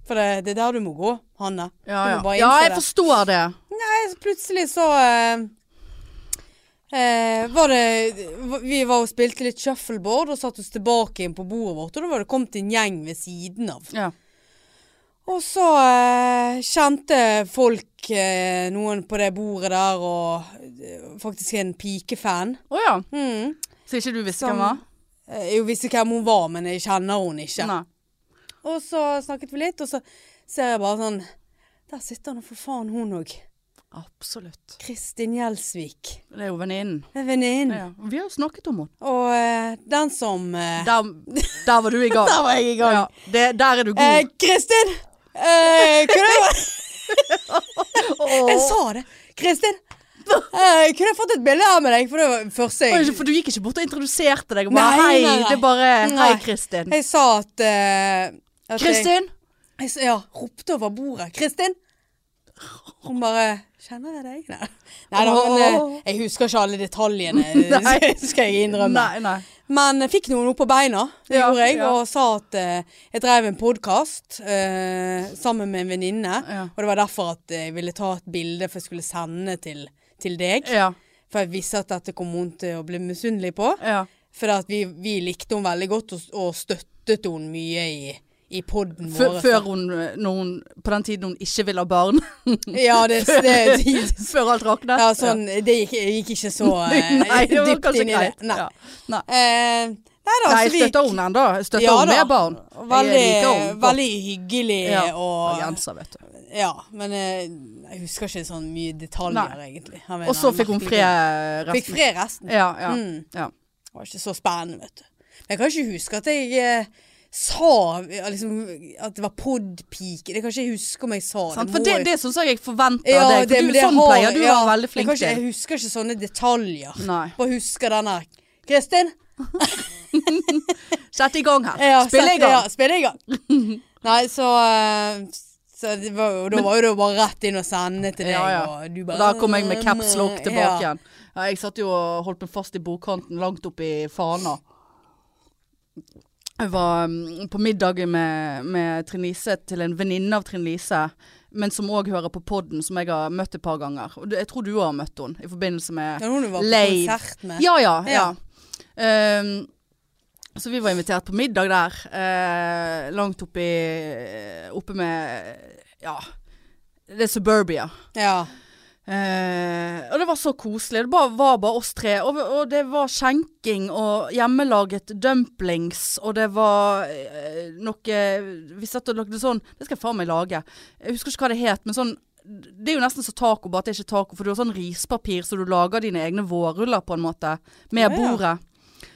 [SPEAKER 2] For det, det er der du må gå, Hanne.
[SPEAKER 1] Ja,
[SPEAKER 2] Du må
[SPEAKER 1] ja.
[SPEAKER 2] bare
[SPEAKER 1] ja,
[SPEAKER 2] innse
[SPEAKER 1] jeg
[SPEAKER 2] det.
[SPEAKER 1] forstår det.
[SPEAKER 2] Nei, så plutselig så eh, eh, var det Vi var og spilte litt shuffleboard og satte oss tilbake inn på bordet vårt, og da var det kommet en gjeng ved siden av.
[SPEAKER 1] Ja.
[SPEAKER 2] Og så eh, kjente folk eh, noen på det bordet der, og eh, faktisk en pikefan.
[SPEAKER 1] Å ja.
[SPEAKER 2] Mm.
[SPEAKER 1] Så ikke du visste
[SPEAKER 2] Som-
[SPEAKER 1] hvem det var?
[SPEAKER 2] Eh, Jeg visste hvem hun var, men jeg kjenner hun ikke.
[SPEAKER 1] Nei.
[SPEAKER 2] Og så snakket vi litt, og så ser jeg bare sånn Der sitter nå for faen hun òg.
[SPEAKER 1] Absolutt. Hmm.
[SPEAKER 2] Kristin Gjelsvik.
[SPEAKER 1] Det er jo venninnen.
[SPEAKER 2] En venninne.
[SPEAKER 1] Ja. Vi har jo snakket om henne.
[SPEAKER 2] Og eh, den som eh,
[SPEAKER 1] Der, <laughs> der var du i gang.
[SPEAKER 2] var jeg i
[SPEAKER 1] Ja, det, der er du god.
[SPEAKER 2] Eh, Kristin! Eh, kunne jeg
[SPEAKER 1] Åh.
[SPEAKER 2] Jeg sa det. Kristin, Eh, Jeg kunne fått et bilde av med deg, for det var første
[SPEAKER 1] Oi,
[SPEAKER 2] jeg
[SPEAKER 1] For du gikk ikke bort og introduserte deg og bare
[SPEAKER 2] Nei,
[SPEAKER 1] Hei,
[SPEAKER 2] nei, nei.
[SPEAKER 1] det er bare Hei,
[SPEAKER 2] Nei.
[SPEAKER 1] Kristin.
[SPEAKER 2] Jeg sa at, eh, at jeg,
[SPEAKER 1] Kristin!
[SPEAKER 2] jeg s- Ja, ropte over bordet. 'Kristin!' Hun bare 'Kjenner jeg deg?' Nei, Nei da, men eh, jeg husker ikke alle detaljene,
[SPEAKER 1] <laughs>
[SPEAKER 2] <laughs>
[SPEAKER 1] Nei.
[SPEAKER 2] skal jeg innrømme.
[SPEAKER 1] Nei, nei.
[SPEAKER 2] Men jeg fikk noen opp på beina, det
[SPEAKER 1] Ja,
[SPEAKER 2] gjorde jeg,
[SPEAKER 1] ja.
[SPEAKER 2] og sa at eh, jeg drev en podkast sammen med en venninne.
[SPEAKER 1] Ja.
[SPEAKER 2] Og det var derfor at jeg ville ta et bilde for jeg skulle sende til, til deg.
[SPEAKER 1] Ja.
[SPEAKER 2] For jeg visste at dette kom hun til å bli misunnelig på.
[SPEAKER 1] ja.
[SPEAKER 2] For at vi, vi likte henne veldig godt og, og støttet henne mye i, i poden
[SPEAKER 1] Før,
[SPEAKER 2] vår.
[SPEAKER 1] før hun, eh, når hun På den tiden hun ikke ville ha barn. <laughs>
[SPEAKER 2] Ja, det, det, det
[SPEAKER 1] før alt raknet.
[SPEAKER 2] ja, sånn, det gikk, jeg gikk ikke så eh,
[SPEAKER 1] <laughs> Nei, det var
[SPEAKER 2] dypt
[SPEAKER 1] kanskje
[SPEAKER 2] inn i det.
[SPEAKER 1] greit.
[SPEAKER 2] Nei.
[SPEAKER 1] Ja. Nei.
[SPEAKER 2] Eh, nei da,
[SPEAKER 1] Nei,
[SPEAKER 2] så
[SPEAKER 1] jeg
[SPEAKER 2] vi-
[SPEAKER 1] støtter henne ennå. Jeg Støtter henne med barn. Jeg
[SPEAKER 2] Veldig,
[SPEAKER 1] liker henne.
[SPEAKER 2] veldig hyggelig
[SPEAKER 1] ja. og
[SPEAKER 2] og
[SPEAKER 1] genser, vet du.
[SPEAKER 2] Ja, men eh, jeg husker ikke sånn mye detaljer,
[SPEAKER 1] Nei.
[SPEAKER 2] egentlig. Han mener
[SPEAKER 1] Og så
[SPEAKER 2] han
[SPEAKER 1] fikk hun
[SPEAKER 2] merkelig-
[SPEAKER 1] fred
[SPEAKER 2] Fikk
[SPEAKER 1] resten.
[SPEAKER 2] fred resten.
[SPEAKER 1] Ja, ja,
[SPEAKER 2] Mm.
[SPEAKER 1] ja.
[SPEAKER 2] Det var ikke så spennende, vet du. Men jeg kan ikke huske at jeg eh, sa eh, liksom, at det var podpike. Det kan ikke jeg huske om jeg sa
[SPEAKER 1] Sant?
[SPEAKER 2] det.
[SPEAKER 1] For
[SPEAKER 2] må
[SPEAKER 1] det,
[SPEAKER 2] jeg-
[SPEAKER 1] det syns jeg jeg forventer
[SPEAKER 2] Ja,
[SPEAKER 1] av deg.
[SPEAKER 2] det-
[SPEAKER 1] For
[SPEAKER 2] men
[SPEAKER 1] du,
[SPEAKER 2] det
[SPEAKER 1] sånn
[SPEAKER 2] har-
[SPEAKER 1] pleier du å
[SPEAKER 2] ja,
[SPEAKER 1] være veldig
[SPEAKER 2] jeg
[SPEAKER 1] flink
[SPEAKER 2] kan ikke,
[SPEAKER 1] til.
[SPEAKER 2] Jeg husker ikke sånne detaljer.
[SPEAKER 1] Nei.
[SPEAKER 2] Bare husker den der Kristin!
[SPEAKER 1] Sett i gang her.
[SPEAKER 2] Ja,
[SPEAKER 1] Spill
[SPEAKER 2] sett-
[SPEAKER 1] i gang.
[SPEAKER 2] Ja, spill i gang.
[SPEAKER 1] <laughs>
[SPEAKER 2] Nei, så, eh, så det var, jo- Da var jo det bare rett inn og sende til deg.
[SPEAKER 1] Ja, ja.
[SPEAKER 2] Og du
[SPEAKER 1] Og
[SPEAKER 2] bare, Mm,
[SPEAKER 1] da kom jeg med caps lock tilbake
[SPEAKER 2] Ja.
[SPEAKER 1] igjen. Ja, jeg satt jo og holdt meg fast i bordkanten langt opp i fana. Jeg var mm, på middag med, med Trine Lise til en venninne av Trine Lise, men som òg hører på podden, som jeg har møtt et par ganger. Og det- jeg tror du har møtt henne i forbindelse med
[SPEAKER 2] Ja, hun du var på
[SPEAKER 1] Lave.
[SPEAKER 2] konsert med.
[SPEAKER 1] Ja, ja.
[SPEAKER 2] Ja.
[SPEAKER 1] ja. Ehm, så vi var invitert på middag der. eh, langt oppi Oppe med Ja. Det er suburbia.
[SPEAKER 2] Ja.
[SPEAKER 1] Eh, og det var så koselig. Det bare, var bare oss tre. Og, og det var skjenking og hjemmelaget dumplings, og det var eh, noe Vi satt og lagde sånn Det skal jeg faen meg lage. Jeg husker ikke hva det het, men sånn det er jo nesten som taco, bare at det er ikke taco. For du har sånn rispapir, så du lager dine egne vårruller på en måte. Med
[SPEAKER 2] Ja, ja.
[SPEAKER 1] bordet.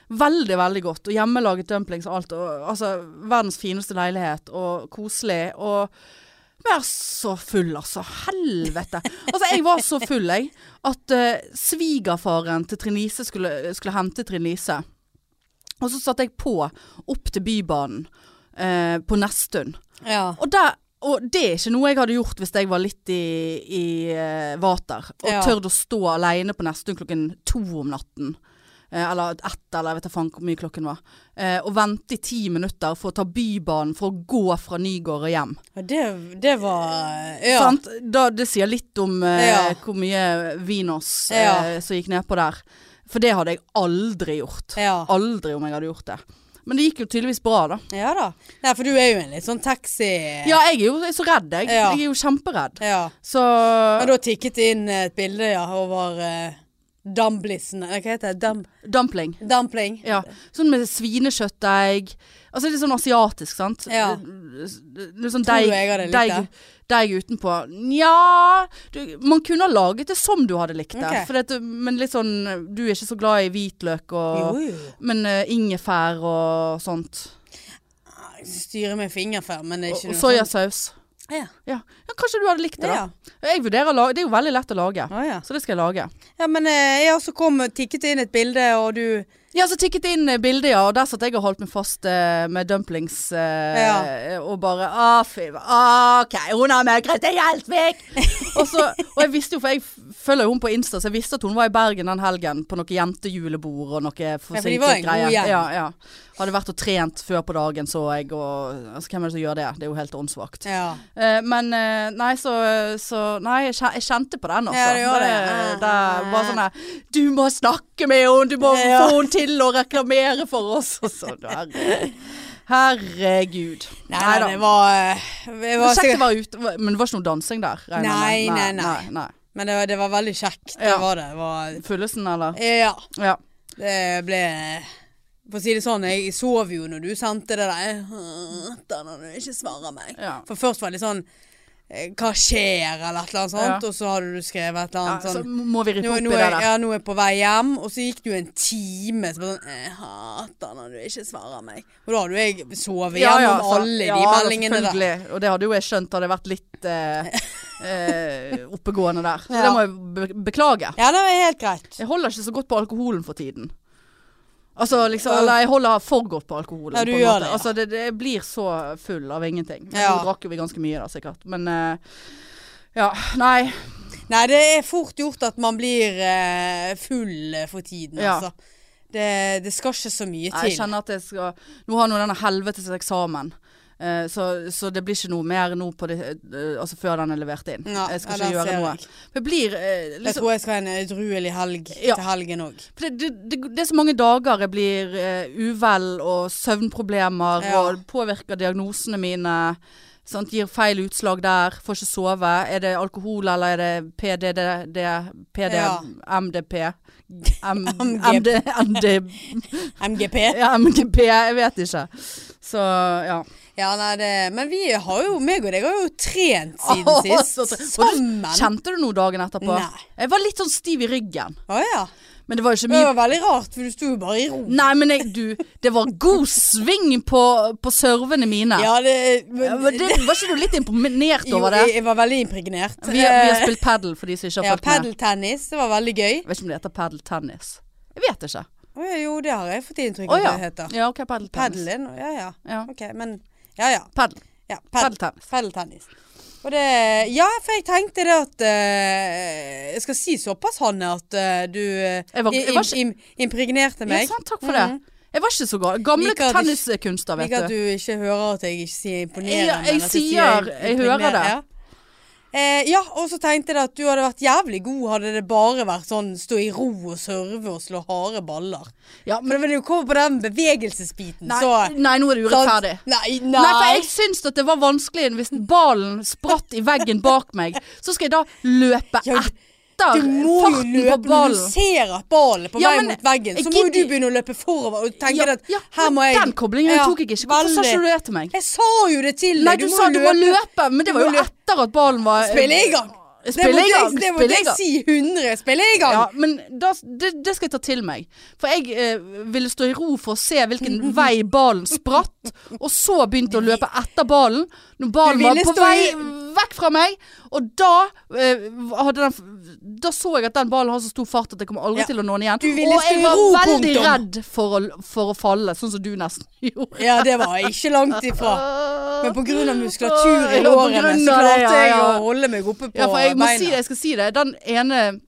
[SPEAKER 1] Veldig, veldig godt. Og hjemmelaget dumplings og alt. Og, altså, verdens fineste leilighet, og koselig. Og vær så full, altså. Helvete. Altså, jeg var så full, jeg, at eh, svigerfaren til Trine Lise skulle, skulle hente Trine Lise. Og så satte jeg på opp til Bybanen eh, på Nesttun.
[SPEAKER 2] ja.
[SPEAKER 1] Og, der, og det er ikke noe jeg hadde gjort hvis jeg var litt i, i eh, vater og
[SPEAKER 2] Ja.
[SPEAKER 1] tørd å stå alene på nesten klokken to om natten. Eh, eller ett, eller jeg vet da faen hvor mye klokken var. Eh, og vente i ti minutter for å ta Bybanen for å gå fra Nygård og hjem.
[SPEAKER 2] Og Det, det var eh, Ja.
[SPEAKER 1] Sant? Da, det sier litt om eh,
[SPEAKER 2] Ja.
[SPEAKER 1] hvor mye Vinos eh,
[SPEAKER 2] Ja.
[SPEAKER 1] som gikk nedpå der. For det hadde jeg aldri gjort.
[SPEAKER 2] Ja.
[SPEAKER 1] Aldri om jeg hadde gjort det. Men det gikk jo tydeligvis bra, da.
[SPEAKER 2] ja da. Nei, for du er jo en litt sånn taxi...
[SPEAKER 1] Ja, jeg er jo jeg er så redd, jeg.
[SPEAKER 2] Ja.
[SPEAKER 1] Jeg er jo kjemperedd.
[SPEAKER 2] Ja.
[SPEAKER 1] Så
[SPEAKER 2] Og da tikket det inn et bilde ja, over uh, dumblissen Nei, Hva heter det? Dum,
[SPEAKER 1] Dumpling.
[SPEAKER 2] dumpling.
[SPEAKER 1] Ja. Sånn med svinekjøttdeig. Altså litt sånn asiatisk, sant?
[SPEAKER 2] Ja.
[SPEAKER 1] Litt sånn
[SPEAKER 2] Tror du
[SPEAKER 1] deig,
[SPEAKER 2] jeg hadde likt
[SPEAKER 1] deig,
[SPEAKER 2] det?
[SPEAKER 1] deig utenpå. Nja du, Man kunne ha laget det som du hadde likt det.
[SPEAKER 2] Ok.
[SPEAKER 1] For dette- men litt sånn Du er ikke så glad i hvitløk og
[SPEAKER 2] Jo, jo.
[SPEAKER 1] Men eh, ingefær og sånt.
[SPEAKER 2] Jeg Styrer med fingerferd, men det er
[SPEAKER 1] Og,
[SPEAKER 2] ikke
[SPEAKER 1] og
[SPEAKER 2] noe
[SPEAKER 1] soyasaus.
[SPEAKER 2] sånn- Ja.
[SPEAKER 1] Ja. ja, kanskje du hadde likt det, da.
[SPEAKER 2] Ja.
[SPEAKER 1] Jeg vurderer å lage Det er jo veldig lett å lage.
[SPEAKER 2] Å, ja.
[SPEAKER 1] Så det skal jeg lage.
[SPEAKER 2] Ja, men eh, jeg også kom og tikket inn et bilde, og du
[SPEAKER 1] Ja, så tikket det inn eh, bildet, ja. Og der satt jeg og holdt meg fast eh, med dumplings. Eh, Og bare ah, fy, OK, hun har møkret til Hjeltvik!
[SPEAKER 2] <laughs>
[SPEAKER 1] og, så, og jeg visste jo, for jeg f- følger jo hun på Insta, så jeg visste at hun var i Bergen den helgen på noe jentejulebord og noe
[SPEAKER 2] for de var en
[SPEAKER 1] forsinket
[SPEAKER 2] god
[SPEAKER 1] greier.
[SPEAKER 2] gjeng.
[SPEAKER 1] Ja, ja. Hadde vært og trent før på dagen, så jeg, og altså, Hvem er det som gjør det? Det er jo helt åndssvakt.
[SPEAKER 2] Ja.
[SPEAKER 1] Eh, men eh, nei, så, så Nei, jeg kjen- jeg kjente på den, altså.
[SPEAKER 2] Ja, det gjør det.
[SPEAKER 1] det var sånn her Du må snakke med henne! Du må
[SPEAKER 2] Ja.
[SPEAKER 1] få henne til å reklamere for oss! Og sånn. Herregud. herregud.
[SPEAKER 2] Nei, nei, det var, eh, det
[SPEAKER 1] Kjekt
[SPEAKER 2] var
[SPEAKER 1] å
[SPEAKER 2] sikkert,
[SPEAKER 1] være ute, men det var ikke noe dansing der? regner jeg
[SPEAKER 2] Nei,
[SPEAKER 1] med.
[SPEAKER 2] nei, nei.
[SPEAKER 1] nei,
[SPEAKER 2] Men det var, det var veldig kjekt. Det
[SPEAKER 1] Ja.
[SPEAKER 2] var det. det Var,
[SPEAKER 1] nei. Fullesen, eller?
[SPEAKER 2] ja.
[SPEAKER 1] Ja.
[SPEAKER 2] Det ble For å si det sånn, jeg sov jo når du sendte det der. Jeg hater når du ikke svarer meg.
[SPEAKER 1] Ja.
[SPEAKER 2] For først var det litt sånn eh, Hva skjer, eller et eller annet sånt.
[SPEAKER 1] Ja.
[SPEAKER 2] Og så hadde du skrevet et eller
[SPEAKER 1] Ja,
[SPEAKER 2] annet
[SPEAKER 1] så
[SPEAKER 2] sånn
[SPEAKER 1] må vi rippe
[SPEAKER 2] nå,
[SPEAKER 1] opp
[SPEAKER 2] nå
[SPEAKER 1] i det
[SPEAKER 2] er,
[SPEAKER 1] der.
[SPEAKER 2] ja, nå er jeg på vei hjem, og så gikk det jo en time. Så bare sånn, jeg hater når du ikke svarer meg. Og da hadde jo jeg sovet
[SPEAKER 1] Ja,
[SPEAKER 2] gjennom
[SPEAKER 1] ja, sant.
[SPEAKER 2] alle
[SPEAKER 1] Ja,
[SPEAKER 2] de
[SPEAKER 1] da,
[SPEAKER 2] meldingene der.
[SPEAKER 1] selvfølgelig. Og det hadde jo jeg skjønt hadde vært litt
[SPEAKER 2] <laughs>
[SPEAKER 1] eh, eh, oppegående der. Så
[SPEAKER 2] Ja.
[SPEAKER 1] det må jeg be beklage.
[SPEAKER 2] Ja, det var helt greit.
[SPEAKER 1] Jeg holder ikke så godt på alkoholen for tiden. Altså liksom Eller jeg holder for godt på alkoholen.
[SPEAKER 2] Ja, du
[SPEAKER 1] på en
[SPEAKER 2] gjør
[SPEAKER 1] måte.
[SPEAKER 2] det, ja.
[SPEAKER 1] Altså det, det jeg blir så full av ingenting. Men
[SPEAKER 2] Ja.
[SPEAKER 1] Nå drakk jo vi ganske mye da, sikkert. Men eh, ja. Nei.
[SPEAKER 2] Nei, det er fort gjort at man blir eh, full eh, for tiden,
[SPEAKER 1] Ja.
[SPEAKER 2] altså. Det, det skal ikke så mye
[SPEAKER 1] Nei,
[SPEAKER 2] til.
[SPEAKER 1] Jeg kjenner at jeg skal Nå har nå denne helvetes eksamen. eh, Så, så det blir ikke noe mer nå på det, eh, altså før den er levert inn.
[SPEAKER 2] Ja,
[SPEAKER 1] jeg skal
[SPEAKER 2] ja,
[SPEAKER 1] ikke
[SPEAKER 2] den ser
[SPEAKER 1] gjøre noe.
[SPEAKER 2] jeg.
[SPEAKER 1] Jeg blir eh,
[SPEAKER 2] Jeg
[SPEAKER 1] liksom
[SPEAKER 2] tror jeg skal ha en edruelig helg
[SPEAKER 1] Ja.
[SPEAKER 2] til helgen òg.
[SPEAKER 1] For det, det, det, det er så mange dager jeg blir eh, uvel og søvnproblemer
[SPEAKER 2] Ja.
[SPEAKER 1] og påvirker diagnosene mine. Sant? Gir feil utslag der, får ikke sove. Er det alkohol eller er det PDD, PD,
[SPEAKER 2] Ja.
[SPEAKER 1] MDP?
[SPEAKER 2] <laughs>
[SPEAKER 1] M, MD,
[SPEAKER 2] MGP.
[SPEAKER 1] MD,
[SPEAKER 2] MGP.
[SPEAKER 1] ja, MGP, jeg vet ikke. Så ja.
[SPEAKER 2] Ja, nei, det, men vi har jo, meg og deg har jo trent siden
[SPEAKER 1] Åh,
[SPEAKER 2] sist.
[SPEAKER 1] så tre- Og du-
[SPEAKER 2] Sammen.
[SPEAKER 1] Kjente du noe dagen etterpå?
[SPEAKER 2] Nei.
[SPEAKER 1] Jeg var litt sånn stiv i ryggen,
[SPEAKER 2] Å ja.
[SPEAKER 1] men det var jo ikke
[SPEAKER 2] Det
[SPEAKER 1] mye
[SPEAKER 2] var veldig rart, for du sto jo bare i ro.
[SPEAKER 1] Nei, men jeg, du, det var god sving på, på servene mine.
[SPEAKER 2] Ja, det,
[SPEAKER 1] Ja, men det, var ikke du litt imponert
[SPEAKER 2] jo,
[SPEAKER 1] over
[SPEAKER 2] jeg,
[SPEAKER 1] det?
[SPEAKER 2] jeg var veldig impregnert.
[SPEAKER 1] Vi, vi har
[SPEAKER 2] Eh,
[SPEAKER 1] spilt padel for de som ikke
[SPEAKER 2] ja,
[SPEAKER 1] har fulgt med.
[SPEAKER 2] padeltennis. Det var veldig gøy.
[SPEAKER 1] Jeg vet ikke om det heter padeltennis. Jeg vet ikke.
[SPEAKER 2] Å ja, jo, det har jeg fått
[SPEAKER 1] Å
[SPEAKER 2] inntrykk av
[SPEAKER 1] ja.
[SPEAKER 2] det heter.
[SPEAKER 1] ja. Ok, padeltennis.
[SPEAKER 2] Padelen, ja ja.
[SPEAKER 1] Ja.
[SPEAKER 2] Ok, men ja ja.
[SPEAKER 1] Padel.
[SPEAKER 2] ja
[SPEAKER 1] Padeltennis.
[SPEAKER 2] Padeltennis. Og det Ja, for jeg tenkte det at eh, Jeg skal si såpass, Hanne, at eh, du eh,
[SPEAKER 1] Jeg var- jeg var ikke-
[SPEAKER 2] im, im, impregnerte
[SPEAKER 1] Ja,
[SPEAKER 2] meg.
[SPEAKER 1] sant, takk for det.
[SPEAKER 2] Mhm.
[SPEAKER 1] Jeg var ikke så gal. Gamle
[SPEAKER 2] Liker at du-
[SPEAKER 1] tenniskunster, vet
[SPEAKER 2] Liker at
[SPEAKER 1] du.
[SPEAKER 2] du ikke hører at jeg ikke sier imponerende.
[SPEAKER 1] Ja, jeg
[SPEAKER 2] men at
[SPEAKER 1] sier- jeg hører
[SPEAKER 2] impregnere-
[SPEAKER 1] det.
[SPEAKER 2] Ja. Eh, ja, og så tenkte jeg at du hadde vært jævlig god hadde det bare vært sånn stå i ro og serve og slå harde baller.
[SPEAKER 1] Ja,
[SPEAKER 2] Men
[SPEAKER 1] men
[SPEAKER 2] når du kommer på den bevegelsesbiten,
[SPEAKER 1] nei,
[SPEAKER 2] så
[SPEAKER 1] nei, nå er det urettferdig.
[SPEAKER 2] Sant? Nei, nei.
[SPEAKER 1] Nei, for jeg syns at det var vanskelig hvis ballen spratt i veggen bak meg. Så skal jeg da løpe
[SPEAKER 2] Ja,
[SPEAKER 1] etter
[SPEAKER 2] du må jo
[SPEAKER 1] farten på
[SPEAKER 2] løpe når du
[SPEAKER 1] ballen.
[SPEAKER 2] ser at ballen er på
[SPEAKER 1] Ja,
[SPEAKER 2] vei
[SPEAKER 1] men
[SPEAKER 2] mot veggen.
[SPEAKER 1] jeg
[SPEAKER 2] Så må jo du
[SPEAKER 1] gidder-
[SPEAKER 2] begynne å løpe forover og tenke
[SPEAKER 1] Ja,
[SPEAKER 2] at
[SPEAKER 1] ja,
[SPEAKER 2] her
[SPEAKER 1] men
[SPEAKER 2] må jeg
[SPEAKER 1] den koblingen tok jeg ikke. Hvorfor sa
[SPEAKER 2] veldig.
[SPEAKER 1] ikke du det til meg?
[SPEAKER 2] Jeg sa jo det til deg.
[SPEAKER 1] Nei, du,
[SPEAKER 2] må
[SPEAKER 1] sa
[SPEAKER 2] jo
[SPEAKER 1] du må løpe, men det
[SPEAKER 2] Du
[SPEAKER 1] var
[SPEAKER 2] må
[SPEAKER 1] jo
[SPEAKER 2] løpe.
[SPEAKER 1] etter at ballen var
[SPEAKER 2] Spille i gang. Det
[SPEAKER 1] Spille
[SPEAKER 2] måtte
[SPEAKER 1] i gang.
[SPEAKER 2] jeg- Det
[SPEAKER 1] spille
[SPEAKER 2] måtte
[SPEAKER 1] i
[SPEAKER 2] jeg
[SPEAKER 1] gang.
[SPEAKER 2] si 100. Spille i gang.
[SPEAKER 1] Ja, men da, det, det skal jeg ta til meg. For jeg eh, ville stå i ro for å se
[SPEAKER 2] <laughs>
[SPEAKER 1] hvilken vei ballen spratt, og så begynte å løpe etter ballen. Når ballen
[SPEAKER 2] Du
[SPEAKER 1] var
[SPEAKER 2] ville
[SPEAKER 1] på
[SPEAKER 2] stå
[SPEAKER 1] vei
[SPEAKER 2] i-
[SPEAKER 1] vekk fra meg, og da eh, hadde den, Da så jeg at den ballen har så stor fart at jeg kommer aldri
[SPEAKER 2] Ja.
[SPEAKER 1] til å nå den igjen.
[SPEAKER 2] Du ville
[SPEAKER 1] og
[SPEAKER 2] stå i
[SPEAKER 1] jeg var
[SPEAKER 2] ro,
[SPEAKER 1] veldig
[SPEAKER 2] punktum.
[SPEAKER 1] redd for å, for å falle, sånn som du nesten <laughs> gjorde.
[SPEAKER 2] Ja, det var ikke langt ifra. Men pga. muskulatur i
[SPEAKER 1] Ja, på
[SPEAKER 2] lårene
[SPEAKER 1] grunn
[SPEAKER 2] så
[SPEAKER 1] av det,
[SPEAKER 2] klarte
[SPEAKER 1] ja,
[SPEAKER 2] jeg
[SPEAKER 1] ja.
[SPEAKER 2] å holde meg oppe på
[SPEAKER 1] Ja, for jeg må si det,
[SPEAKER 2] beina.
[SPEAKER 1] jeg skal si det. Den ene,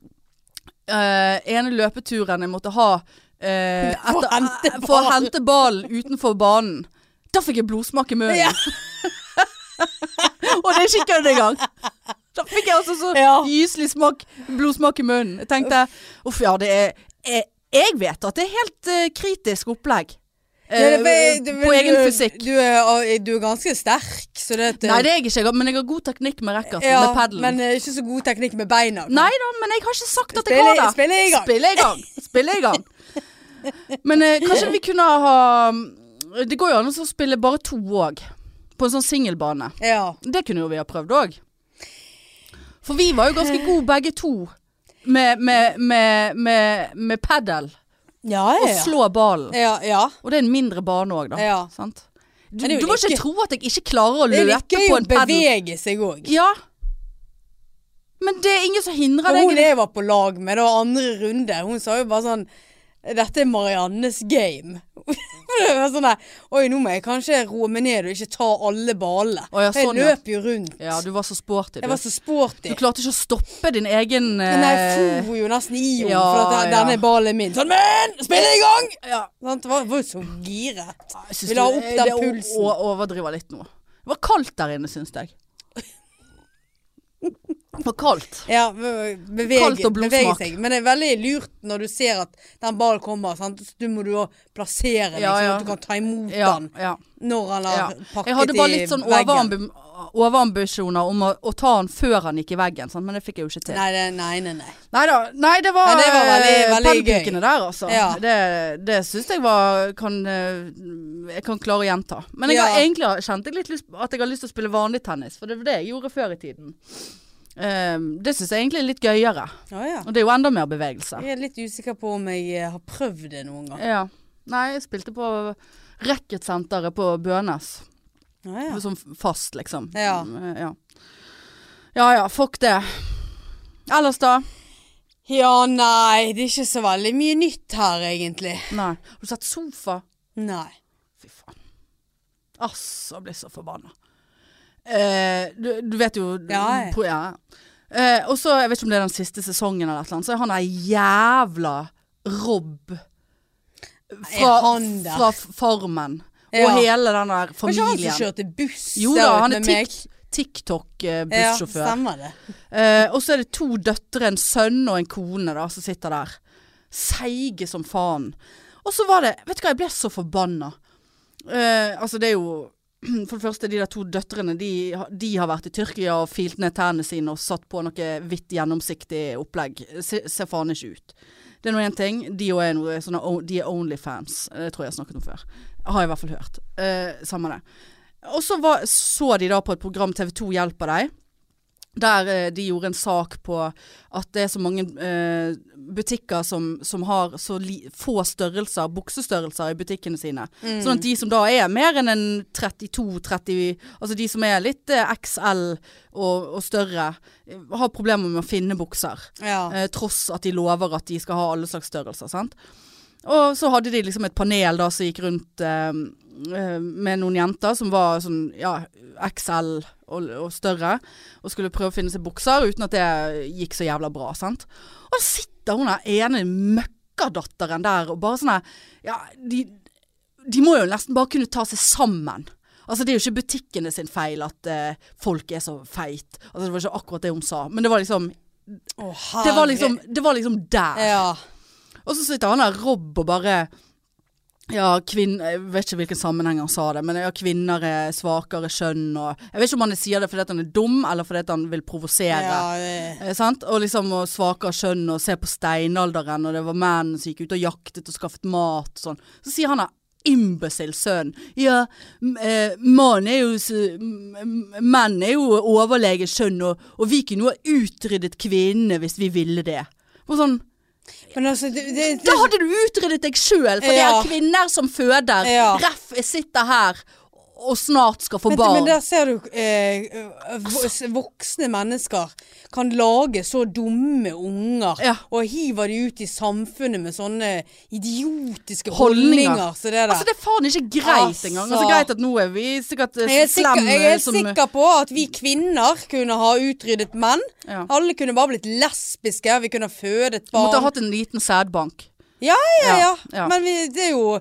[SPEAKER 1] eh, ene løpeturen jeg måtte ha eh,
[SPEAKER 2] <laughs> For å
[SPEAKER 1] etter-
[SPEAKER 2] hente
[SPEAKER 1] eh, for å hente ballen utenfor banen, da fikk jeg blodsmak i munnen.
[SPEAKER 2] Ja.
[SPEAKER 1] <laughs> Og det er ikke kødd engang. Da fikk jeg altså så
[SPEAKER 2] Ja.
[SPEAKER 1] gyselig smak, blodsmak i munnen. Jeg tenkte uff ja, det er Jeg, jeg vet at det er helt eh, kritisk opplegg.
[SPEAKER 2] Ja, det-
[SPEAKER 1] eh,
[SPEAKER 2] det-
[SPEAKER 1] på egen
[SPEAKER 2] du-
[SPEAKER 1] fysikk.
[SPEAKER 2] Du er, du er ganske sterk, så det
[SPEAKER 1] Nei, det er jeg ikke, men jeg har god teknikk med racketen.
[SPEAKER 2] ja,
[SPEAKER 1] med padelen.
[SPEAKER 2] Men eh, ikke så god teknikk med beina.
[SPEAKER 1] Nei da, men jeg har ikke sagt at jeg har
[SPEAKER 2] Spille-
[SPEAKER 1] det.
[SPEAKER 2] spille i gang.
[SPEAKER 1] Spille i gang. Spille i gang.
[SPEAKER 2] <laughs>
[SPEAKER 1] Men eh, kanskje vi kunne ha mm, Det går jo an å spille bare to òg. På en sånn singelbane.
[SPEAKER 2] Ja.
[SPEAKER 1] Det kunne jo vi ha prøvd òg. For vi var jo
[SPEAKER 2] Eh.
[SPEAKER 1] ganske gode begge to med, med, med, med, med padel.
[SPEAKER 2] Ja,
[SPEAKER 1] Og slå ballen.
[SPEAKER 2] Ja, ja.
[SPEAKER 1] Og det er en mindre bane òg, da.
[SPEAKER 2] Ja.
[SPEAKER 1] Sant? Du,
[SPEAKER 2] Men det er
[SPEAKER 1] du
[SPEAKER 2] jo
[SPEAKER 1] må ikke
[SPEAKER 2] like-
[SPEAKER 1] tro at jeg ikke klarer å
[SPEAKER 2] Det er
[SPEAKER 1] løpe
[SPEAKER 2] litt
[SPEAKER 1] på
[SPEAKER 2] gøy å
[SPEAKER 1] en padel.
[SPEAKER 2] bevege seg òg.
[SPEAKER 1] Ja. Men det er ingen som hindrer
[SPEAKER 2] Og
[SPEAKER 1] deg. i
[SPEAKER 2] hun
[SPEAKER 1] det.
[SPEAKER 2] jeg var på lag med da, andre runde, hun sa jo bare sånn Dette er Mariannes game. <laughs> For det var sånn der Oi, nå må jeg kanskje roe meg ned og ikke ta alle ballene.
[SPEAKER 1] Å ja,
[SPEAKER 2] For jeg
[SPEAKER 1] sånn, ja.
[SPEAKER 2] løp jo rundt.
[SPEAKER 1] Ja, du var så sporty, du.
[SPEAKER 2] Jeg var så sporty.
[SPEAKER 1] Du klarte ikke å stoppe din egen
[SPEAKER 2] Men jeg
[SPEAKER 1] eh,
[SPEAKER 2] for jo nesten i henne
[SPEAKER 1] ja,
[SPEAKER 2] for at
[SPEAKER 1] ja.
[SPEAKER 2] denne ballen er min. Sånn, men! Spille i gang!
[SPEAKER 1] ja,
[SPEAKER 2] Sant? Det var, var jo så giret.
[SPEAKER 1] jeg synes
[SPEAKER 2] Vil
[SPEAKER 1] du-
[SPEAKER 2] ha
[SPEAKER 1] eh,
[SPEAKER 2] opp den
[SPEAKER 1] det o-
[SPEAKER 2] pulsen. <laughs>
[SPEAKER 1] o- overdriver litt nå. Det var kaldt der inne, syns jeg. For kaldt.
[SPEAKER 2] Ja, be- bevege,
[SPEAKER 1] Kaldt og blodsmak.
[SPEAKER 2] bevege seg. Men det er veldig lurt når du ser at den ballen kommer. Sant? Så du må du jo plassere den,
[SPEAKER 1] Ja,
[SPEAKER 2] sånn
[SPEAKER 1] ja.
[SPEAKER 2] at du kan ta imot
[SPEAKER 1] Ja,
[SPEAKER 2] den
[SPEAKER 1] ja.
[SPEAKER 2] når han har
[SPEAKER 1] ja.
[SPEAKER 2] pakket
[SPEAKER 1] Jeg hadde bare
[SPEAKER 2] i
[SPEAKER 1] litt sånn
[SPEAKER 2] veggen.
[SPEAKER 1] overambi- overambisjoner om å, å ta han før han gikk i veggen, sant? men det fikk jeg jo ikke til.
[SPEAKER 2] Nei, det, nei, nei, nei.
[SPEAKER 1] Nei da. Nei, det var,
[SPEAKER 2] Nei, det var veldig-
[SPEAKER 1] eh,
[SPEAKER 2] veldig gøy.
[SPEAKER 1] pannekakene der, altså.
[SPEAKER 2] Ja.
[SPEAKER 1] Det, det syns jeg var kan, eh, Jeg kan klare å gjenta. Men jeg
[SPEAKER 2] Ja.
[SPEAKER 1] har egentlig har- kjente jeg litt lyst, at jeg har lyst til å spille vanlig tennis, for det var det jeg gjorde før i tiden. Ehm, det syns jeg egentlig er litt gøyere.
[SPEAKER 2] Å ja.
[SPEAKER 1] Og det er jo enda mer bevegelse.
[SPEAKER 2] Jeg er litt usikker på om jeg eh, har prøvd det noen gang.
[SPEAKER 1] Ja. Nei, jeg spilte på racketsenteret på Bønes.
[SPEAKER 2] Å ja.
[SPEAKER 1] Sånn fast, liksom.
[SPEAKER 2] Ja.
[SPEAKER 1] Mm, ja. Ja ja, fuck det. Ellers da?
[SPEAKER 2] ja, nei, det er ikke så veldig mye nytt her, egentlig.
[SPEAKER 1] Nei. Har du sett sofa?
[SPEAKER 2] Nei.
[SPEAKER 1] Fy faen. Altså, jeg blir så forbanna. Eh, du, du vet jo
[SPEAKER 2] Ja, ja.
[SPEAKER 1] pro- ja. Eh, Og så, jeg vet ikke om det er den siste sesongen eller et eller annet, så er han der jævla Rob fra,
[SPEAKER 2] Er han der?
[SPEAKER 1] fra Farmen.
[SPEAKER 2] Ja.
[SPEAKER 1] Og hele den der
[SPEAKER 2] Var ikke han
[SPEAKER 1] familien.
[SPEAKER 2] som kjørte buss
[SPEAKER 1] Jo
[SPEAKER 2] der
[SPEAKER 1] da,
[SPEAKER 2] ute
[SPEAKER 1] han er
[SPEAKER 2] med meg?
[SPEAKER 1] tik- eh, TikTok-bussjåfør.
[SPEAKER 2] Ja, stemmer det.
[SPEAKER 1] Eh, og så er det to døtre, en sønn og en kone da, som sitter der. Seige som faen. Og så var det Vet du hva, jeg ble så forbanna. Eh, altså, det er jo <clears throat> For det første, de der to døtrene, de, ha- de har vært i Tyrkia og filt ned tærne sine og satt på noe hvitt, gjennomsiktig opplegg. Se, ser faen ikke ut. Det er nå én ting. De òg er noe sånne o- De er Onlyfans. Eh, Det tror jeg jeg har snakket om før. Har jeg i hvert fall hørt. Eh, samme det. Og så var, så de da på et program TV 2 hjelper deg. Der eh, de gjorde en sak på at det er så mange eh, butikker som, som har så li få størrelser, buksestørrelser i butikkene sine. Sånn at de som da er mer enn en 32-30, altså de som er litt eh, XL og, og større, eh, har problemer med å finne bukser.
[SPEAKER 2] Ja.
[SPEAKER 1] Eh, tross at de lover at de skal ha alle slags størrelser. Sant? Og så hadde de liksom et panel da som gikk rundt eh, eh, med noen jenter som var sånn ja, XL og, og større, og skulle prøve å finne seg bukser uten at det gikk så jævla bra. Sant? Og da sitter hun der ene møkkadatteren der og bare sånn her Ja, de, de må jo nesten bare kunne ta seg sammen. Altså Det er jo ikke butikkene sin feil at eh, folk er så feit. Altså Det var ikke akkurat det hun sa, men det var liksom
[SPEAKER 2] Å,
[SPEAKER 1] det var,
[SPEAKER 2] herre-
[SPEAKER 1] liksom, det var liksom der.
[SPEAKER 2] Ja.
[SPEAKER 1] Og så sitter han der, Rob, og bare Ja, kvinn- Jeg vet ikke hvilken sammenheng han sa det, men ja, kvinner er svakere kjønn og Jeg vet ikke om han sier det fordi at han er dum, eller fordi at han vil provosere.
[SPEAKER 2] ja det,
[SPEAKER 1] Eh, sant? Og liksom og svakere kjønn og se på steinalderen, og det var menn som gikk ut og jaktet og skaffet mat og sånn. Så sier han der imbecil sønn. Ja, m- eh, mann er jo s- m- m- Menn er jo overlege kjønn, og, og vi kunne jo ha utryddet kvinnene hvis vi ville det. Og sånn,
[SPEAKER 2] men altså, det, det, det,
[SPEAKER 1] da hadde du utryddet deg sjøl, for
[SPEAKER 2] Ja.
[SPEAKER 1] det er kvinner som føder.
[SPEAKER 2] Ja.
[SPEAKER 1] Ref, jeg sitter her og snart skal få
[SPEAKER 2] men,
[SPEAKER 1] barn.
[SPEAKER 2] men der ser du eh, vo- Voksne mennesker kan lage så dumme unger
[SPEAKER 1] Ja.
[SPEAKER 2] og hiver de ut i samfunnet med sånne idiotiske
[SPEAKER 1] Holdninger.
[SPEAKER 2] holdninger. så det der.
[SPEAKER 1] Altså Det er faen ikke greit
[SPEAKER 2] Altså.
[SPEAKER 1] engang. Altså Greit at nå er vi sikkert eh,
[SPEAKER 2] jeg er, sikker,
[SPEAKER 1] slemme
[SPEAKER 2] jeg er helt
[SPEAKER 1] som
[SPEAKER 2] sikker på at vi kvinner kunne ha utryddet menn.
[SPEAKER 1] Ja.
[SPEAKER 2] Alle kunne bare blitt lesbiske. Vi kunne ha fødet barn.
[SPEAKER 1] Måtte ha hatt en liten sædbank.
[SPEAKER 2] Ja, ja, ja.
[SPEAKER 1] Ja, ja.
[SPEAKER 2] Men vi, det er jo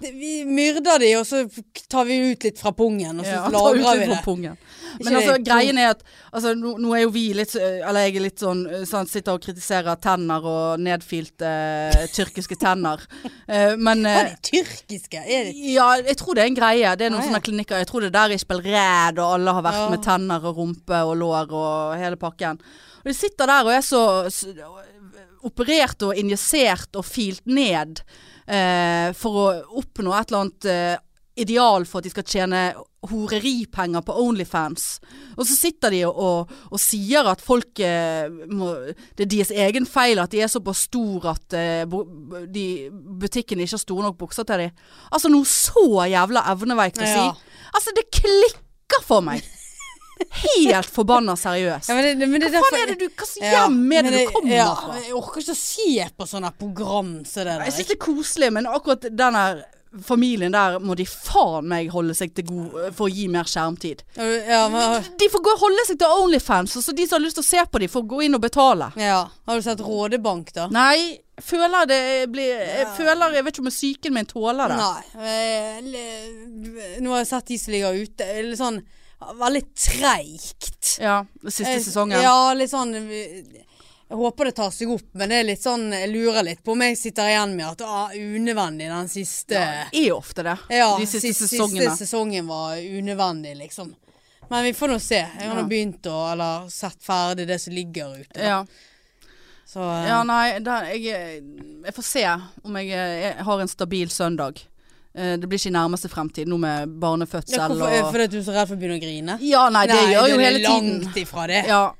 [SPEAKER 2] det, Vi myrder de, og så tar vi ut litt fra pungen, og så
[SPEAKER 1] <laughs> Ja, ta ut
[SPEAKER 2] lagrer vi
[SPEAKER 1] litt
[SPEAKER 2] det.
[SPEAKER 1] fra pungen.
[SPEAKER 2] Ikke
[SPEAKER 1] Men altså,
[SPEAKER 2] det-
[SPEAKER 1] greien er at altså, nå, nå er jo vi litt eh, Eller jeg er litt sånn, eh, sånn Sitter og kritiserer tenner og nedfilte eh, tyrkiske
[SPEAKER 2] <laughs>
[SPEAKER 1] tenner. Eh, men
[SPEAKER 2] Hva
[SPEAKER 1] eh,
[SPEAKER 2] er det tyrkiske? Er det
[SPEAKER 1] Ja, jeg tror det er en greie. Det er noen
[SPEAKER 2] Ah, ja.
[SPEAKER 1] sånne klinikker. Jeg tror det er der Ishbel Red og alle har vært
[SPEAKER 2] Ja.
[SPEAKER 1] med tenner og rumpe og lår og hele pakken. Og de sitter der og er så s- operert og injisert og filt ned eh, for å oppnå et eller annet eh, ideal for at de skal tjene horeripenger på Onlyfans. Og så sitter de og, og, og sier at folk eh, må, Det er deres egen feil at de er såpass store at eh, bo- b- de, butikkene ikke har store nok bukser til dem. Altså noe så jævla evneveikt å si.
[SPEAKER 2] Ja.
[SPEAKER 1] Altså, det klikker for meg! Helt forbanna seriøst.
[SPEAKER 2] Ja, men det, det- men det
[SPEAKER 1] Hva
[SPEAKER 2] derfor-
[SPEAKER 1] faen er det du Hva slags
[SPEAKER 2] Ja,
[SPEAKER 1] hjem er
[SPEAKER 2] men
[SPEAKER 1] det du
[SPEAKER 2] det-
[SPEAKER 1] kommer
[SPEAKER 2] ja,
[SPEAKER 1] fra?
[SPEAKER 2] Jeg orker ikke å se på sånne program som det der.
[SPEAKER 1] Jeg syns det er koselig, men akkurat den her familien der må de faen meg holde seg til god eh, for å gi mer skjermtid.
[SPEAKER 2] Ja, men,
[SPEAKER 1] De får gå og holde seg til Onlyfans, og så de som har lyst til å se på dem, får gå inn og betale.
[SPEAKER 2] ja. Har du sett Rådebank, da?
[SPEAKER 1] Nei, jeg føler det blir Jeg føler Jeg vet ikke om psyken min tåler det.
[SPEAKER 2] eh, Nei. Eh, le- Nå har jeg sett de som ligger ute. Eller sånn Veldig treigt.
[SPEAKER 1] Ja, den siste
[SPEAKER 2] Eh,
[SPEAKER 1] sesongen.
[SPEAKER 2] Ja, litt sånn vi- Jeg håper det tar seg opp, men det er litt sånn Jeg lurer litt på om jeg sitter igjen med at ah, unødvendig den siste
[SPEAKER 1] Ja, det er jo ofte det.
[SPEAKER 2] Ja,
[SPEAKER 1] de siste,
[SPEAKER 2] siste,
[SPEAKER 1] sesongene.
[SPEAKER 2] siste sesongen var unødvendig, liksom. Men vi får nå se. Jeg har
[SPEAKER 1] Ja.
[SPEAKER 2] nå begynt å Eller sett ferdig det som ligger ute. da.
[SPEAKER 1] Ja.
[SPEAKER 2] Så eh,
[SPEAKER 1] ja, nei, da, jeg, jeg får se om jeg, eh, jeg har en stabil søndag. Eh, Det blir ikke i nærmeste fremtid, nå med
[SPEAKER 2] ja,
[SPEAKER 1] barnefødsel
[SPEAKER 2] hvorfor,
[SPEAKER 1] og
[SPEAKER 2] Fordi at du er så redd for å begynne å grine?
[SPEAKER 1] Ja, nei, det gjør jo
[SPEAKER 2] det er
[SPEAKER 1] hele tiden.
[SPEAKER 2] Langt ifra det. Ja,
[SPEAKER 1] Ja.